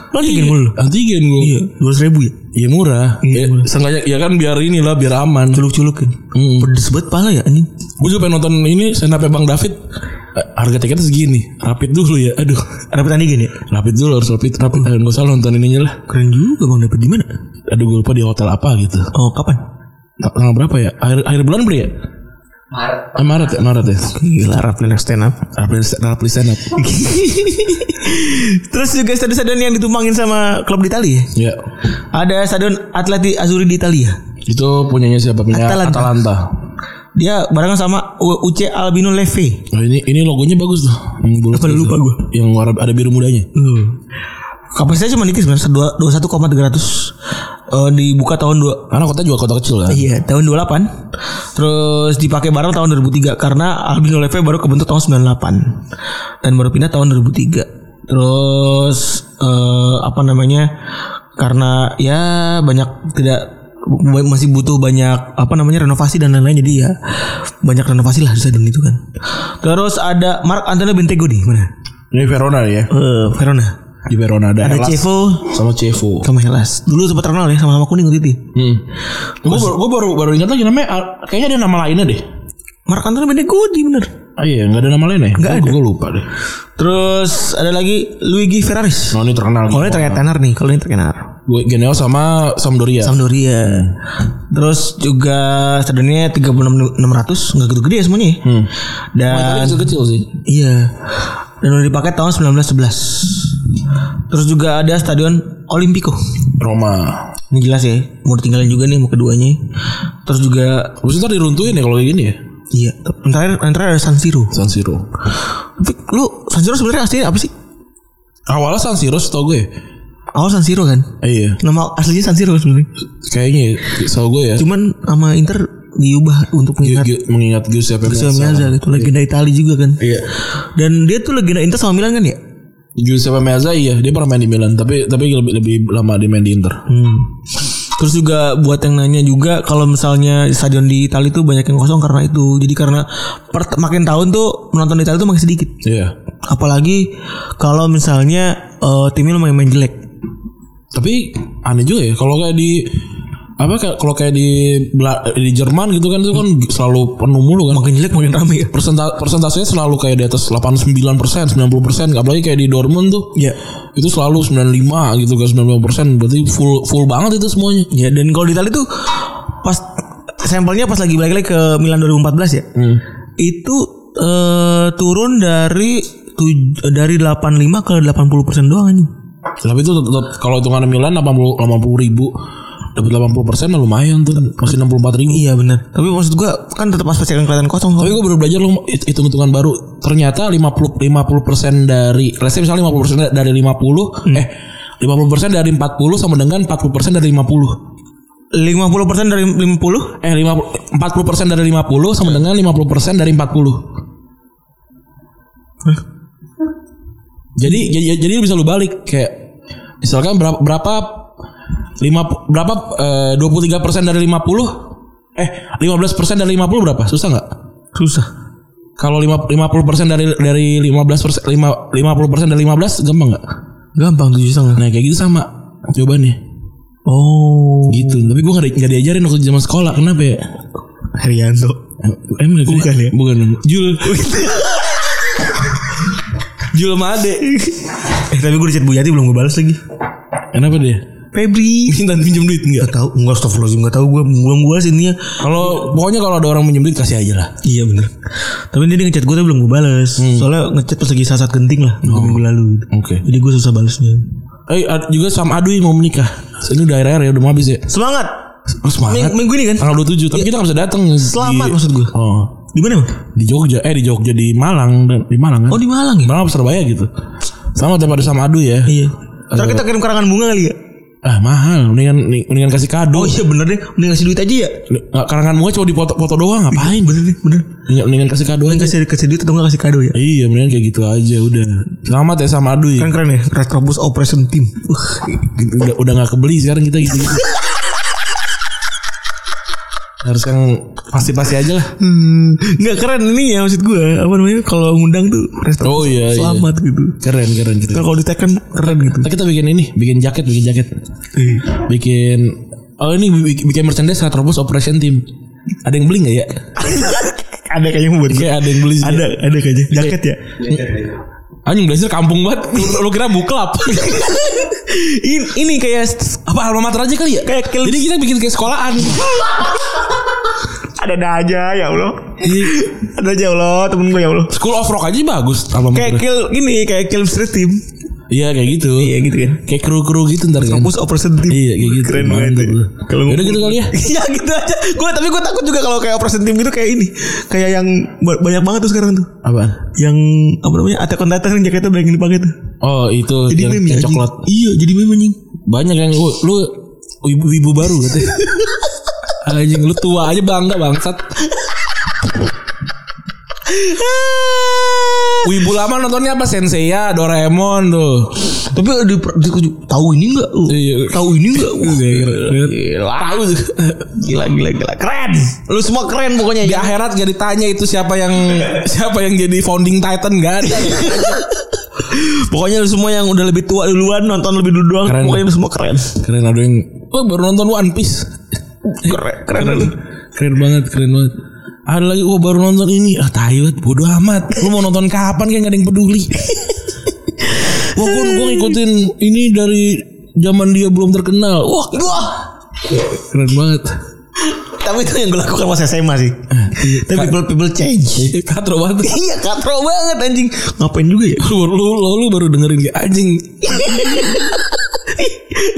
Lo antigen mulu? Antigen gue. Iya. dua ribu ya murah. Iya, Ya, murah. sengaja ya kan biar inilah biar aman. culuk-culukin Mm. pedes banget pala ya anjing Gue juga pengen nonton ini stand up Bang David. Eh, Harga tiketnya segini. Rapid dulu ya. Aduh. dapat antigen ya Rapid dulu harus rapid. Rapid. Eh, Nggak usah nonton ininya lah. keren juga bang dapat di mana Aduh gue lupa di hotel apa gitu. oh kapan Tanggal berapa ya? Akhir, akhir bulan beri ya? Maret. Ah, Maret ya, Maret ya. gila Rapli next stand up Rapid, rapid stand up. terus juga stadion-stadion yang ditumbangin sama klub di Italia ya? ya. ada stadion Atleti Azzurri di Italia Itu punyanya siapa? Punya Atalanta. Atalanta. dia barengan sama U- UC Albino Leve Oh, ini ini logonya bagus tuh. Yang bulat Apa itu. lupa gua? Yang warna ada biru mudanya. hmm. kapasitasnya cuma dikit sebenarnya 21,300 Eh, dibuka tahun dua Karena kota juga kota kecil kan. Iya, tahun 28. Terus dipakai bareng tahun 2003 karena Albino Leve baru kebentuk tahun 98 dan baru pindah tahun 2003. Terus eh, apa namanya? Karena ya banyak tidak bu- masih butuh banyak apa namanya renovasi dan lain-lain jadi ya banyak renovasi lah di stadion itu kan. Terus ada Mark Antonio Bentego di mana? Ini Verona ya. Eh, Verona. Di Verona ada, Ada Hellas Cevo sama Cevo. sama Hellas. Dulu sempat terkenal ya sama-sama kuning waktu itu. Hmm. Gue baru, gua baru baru ingat lagi namanya Al- kayaknya ada nama lainnya deh. Mark Antonio Bentego di bener. Ah iya, enggak ada nama lainnya. Enggak ada. Gue lupa deh. Terus ada lagi Luigi Ferraris. Nah, ini terkenal. Kalau ini terkait tenar Hmm. nih, kalau ini terkenal. Gue Geneo sama Sampdoria. Sampdoria. Terus juga stadionnya 36.600, enggak gitu gede ya semuanya. ya. Hmm. Dan Kecil kecil sih. iya. Dan udah dipakai tahun 1911. Terus juga ada stadion Olimpico. Roma. Ini jelas ya, mau ditinggalin juga nih mau keduanya. Terus juga Habis itu ntar diruntuhin ya kalau kayak gini ya. iya, yang terakhir, yang terakhir ada San Siro. San Siro. Vic, Lu San Siro sebenarnya aslinya apa sih? Awalnya San Siro setau gue. ya? Awal San Siro kan. Eh, iya. Nama aslinya San Siro sebenarnya. Kayaknya ya, setau gue ya. Cuman sama Inter diubah untuk Gu- mengingat gu- mengingat Giuseppe Giuseppe Meazza gitu legenda Itali juga kan Iya. dan dia tuh legenda Inter sama Milan kan ya Giuseppe Meazza iya, dia pernah main di Milan, tapi tapi lebih lebih lama di main di Inter. terus juga buat yang nanya juga kalau misalnya stadion di Itali tuh banyak yang kosong karena itu jadi karena per- makin tahun tuh menonton di Itali tuh makin sedikit Iya. apalagi kalau misalnya eh, timnya lumayan main jelek Tapi aneh juga ya kalau kayak di apa kayak kalau kayak di Bela- di Jerman gitu kan itu kan selalu penuh mulu kan. makin jelek makin rame ya Persenta- persentasenya selalu kayak di atas 89%, 90%, apalagi kayak di Dortmund tuh. Iya. Itu selalu 95 gitu kan 90%, berarti full full banget itu semuanya. ya dan kalau di Itali tuh pas sampelnya pas lagi balik-balik ke Milan 2014 ya Hmm. itu eh, turun dari tuj- dari 85 ke 80 persen doang anjing. Tapi itu tetap kalau hitungan Milan 80 80 ribu dapat 80 persen lumayan tuh masih 64 ribu. Iya benar. Tapi maksud gua kan tetap pas yang kelihatan kosong. Tapi gue baru belajar lo hitung-hitungan baru. Ternyata 50 50 persen dari, let's say misalnya 50 persen dari 50, Hmm. eh 50 persen dari 40 sama dengan 40 persen dari 50. 50 persen dari 50 Eh 50 40 persen dari 50 sama dengan 50 persen dari 40. Jadi jadi jadi bisa lu balik kayak misalkan berapa berapa lima berapa eh, 23 persen dari 50 eh 15 persen dari 50 berapa susah nggak? susah. Kalau 50 persen dari dari 15 persen 50 persen dari 15 gampang nggak? Gampang tujuh setengah. Nah kayak gitu sama jawabannya Oh. gitu. Tapi gue nggak di- nggak diajarin waktu zaman sekolah kenapa ya? Herianto. Emang ya? Bukan ya? Bukan. Jul. Jul sama Ade. Eh tapi gue di chat Bu Yati belum gue balas lagi. Kenapa dia? Febri. Minta pinjam duit nggak? Gak tau. Enggak astagfirullahaladzim. Gak tau gue belum gue balas intinya. Kalau pokoknya kalau ada orang pinjam duit kasih aja lah. Iya benar. Tapi dia ngechat gue tapi belum gue balas. Soalnya ngechat pas lagi saat genting lah. Minggu lalu. gitu. Oke. Jadi gue susah balasnya. Eh ad- juga sama Adui mau menikah. Ini udah akhir-akhir ya udah mau habis ya. Iya. Semangat. Terus semangat. Ming- minggu ini kan? Tanggal 27 tapi kita gak bisa datang. Selamat di- maksud gue. Oh. Di mana? Bang? Di Jogja, eh di Jogja di Malang, di Malang Oh kan? di Malang ya? Malang apa Surabaya gitu. Sama daripada sama Adu ya. Iya. Ntar kita kirim karangan bunga kali ya? Ah mahal, mendingan mendingan kasih kado. Oh iya bener deh, mending kasih duit aja ya? Nggak, Karangan bunga cuma dipoto-foto doang apa? Apain bener deh, bener. Mendingan, mendingan kasih kado aja. Kasih kasih duit atau nggak kasih kado ya? Iya, mendingan kayak gitu aja udah. Selamat ya sama Adu ya. Keren keren ya, Retrobus Operation Team. Wah, Gitu, Udah udah nggak kebeli sekarang kita gitu. harus yang pasti-pasti aja lah. Hmm, nggak keren ini ya maksud gue apa namanya kalau ngundang tuh restoran Oh, iya, iya. selamat gitu Keren keren keren. Ntar kalau di Tekken keren gitu Nah, kita bikin ini, bikin jaket, bikin jaket. Iya. Bikin Oh ini bi- bikin merchandise Retropos Operation Team. Ada yang beli nggak ya? ada kayaknya buat gue Kayak ada yang beli sih. ada ada kayaknya Iya. jaket ya Anjing Blazer kampung banget. Lu, lu kira buklap. ini, ini kayak Apa alma mater aja kali ya? Kayak kil- Jadi kita bikin kayak sekolahan. ada ada aja ya allah ada aja ya allah temen gue ya allah School of Rock aja bagus alma kayak mater. kill gini kayak kill street team Iya kayak gitu. iya gitu kan Kayak kru-kru gitu ntar kan. kampus operation team Iya, kayak gitu. keren banget Mantap ya. lu. kalau Yaudah gitu kali ya. iya gitu aja gue tapi gue takut juga kalau kayak operation team gitu kayak ini kayak yang ba- banyak banget tuh sekarang tuh Apaan? yang apa namanya attack on Titan yang jaketnya banyak yang dipakai tuh Oh itu jadi yang, meme ya yang anjing. coklat. iya jadi meme anjing Banyak yang lu, lu ibu, ibu baru katanya. Anjing lu tua aja bangga bangsat. Wibu lama nontonnya apa Senseiya, Doraemon tuh. tapi di, di, tahu ini enggak Iya. tahu ini enggak Gila. Tahu tuh. gila gila gila keren lu semua keren pokoknya ya. Di akhirat gak ditanya itu siapa yang siapa yang jadi founding titan gak ada. pokoknya lu semua yang udah lebih tua duluan nonton lebih dulu doang Keren. pokoknya lu semua keren Keren ada yang Wah baru nonton One Piece. keren keren lu. Keren banget, keren banget. Ada lagi wah baru nonton ini. Ah tai banget, bodoh amat. Lu mau nonton kapan kayak gak ada yang peduli. wah gua, gua ngikutin ini dari zaman dia belum terkenal. Wah, wah keren banget. tapi itu yang gue lakukan pas SMA sih tapi people people change Eh, Katro banget. Ah, iya katro banget anjing ngapain juga ya Lu, lu, lu, lu baru dengerin kayak anjing.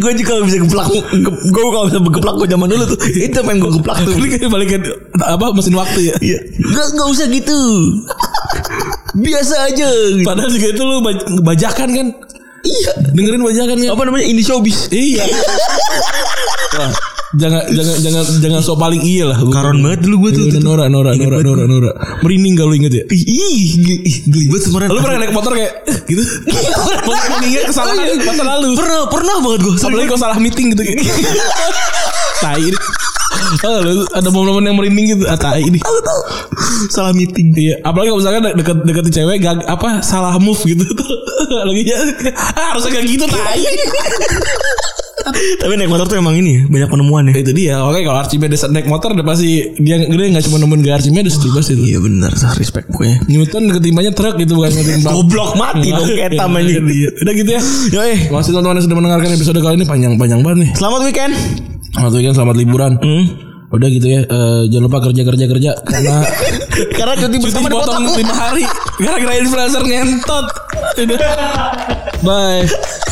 gue juga kalau bisa geplak gue kalau bisa geplak gue zaman dulu tuh itu pengen gue geplak tuh Lu kayak balikin apa mesin waktu ya. Iya. Gak, gak usah gitu. Biasa aja. Gitu. Padahal juga itu lu baj- bajakan kan. Iya. Dengerin bajakan kan. Apa namanya? Ini showbiz. Iya. Wah, jangan jangan jangan jangan sok paling iya lah. Karon banget dulu gua tuh. Iya, Nora Nora Ingat Nora banget Nora Nora. Merinding gak lu inget ya? Ih, ih, ih, geli banget kemarin. Lu pernah naik motor kayak eh, gitu? Mengingat Oh, kesalahan iya. masa lalu. Pernah, pernah banget gue. Apalagi kalau salah meeting gitu. Tai ini. Oh, lu ada momen-momen yang merinding gitu. Ah, tai ini. Tahu tahu. Salah meeting. Iya, apalagi kalau misalkan de- deket deketin cewek gak, apa salah move gitu tuh. Lagi ya ah, harusnya kayak gitu tai. Tapi naik motor tuh emang ini ya, banyak penemuan ya. Itu dia. Oke, kalau Archimedes naik motor udah pasti dia dia enggak cuma nemuin gaya Archimedes dia pasti Iya itu. benar, sah respect pokoknya. Newton ketimbangnya truk gitu bukan ngetim bak. Goblok mati dong ketam Iya, anjing. iya. Udah gitu ya. Yo eh, Masih teman-teman yang sudah mendengarkan episode kali ini panjang-panjang banget nih. selamat weekend. Selamat weekend, selamat liburan. Udah gitu ya. eh, jangan lupa kerja kerja kerja karena Karena cuti cuti bersama dipotong dipotong. lima hari gara-gara influencer ngentot. Udah. Bye.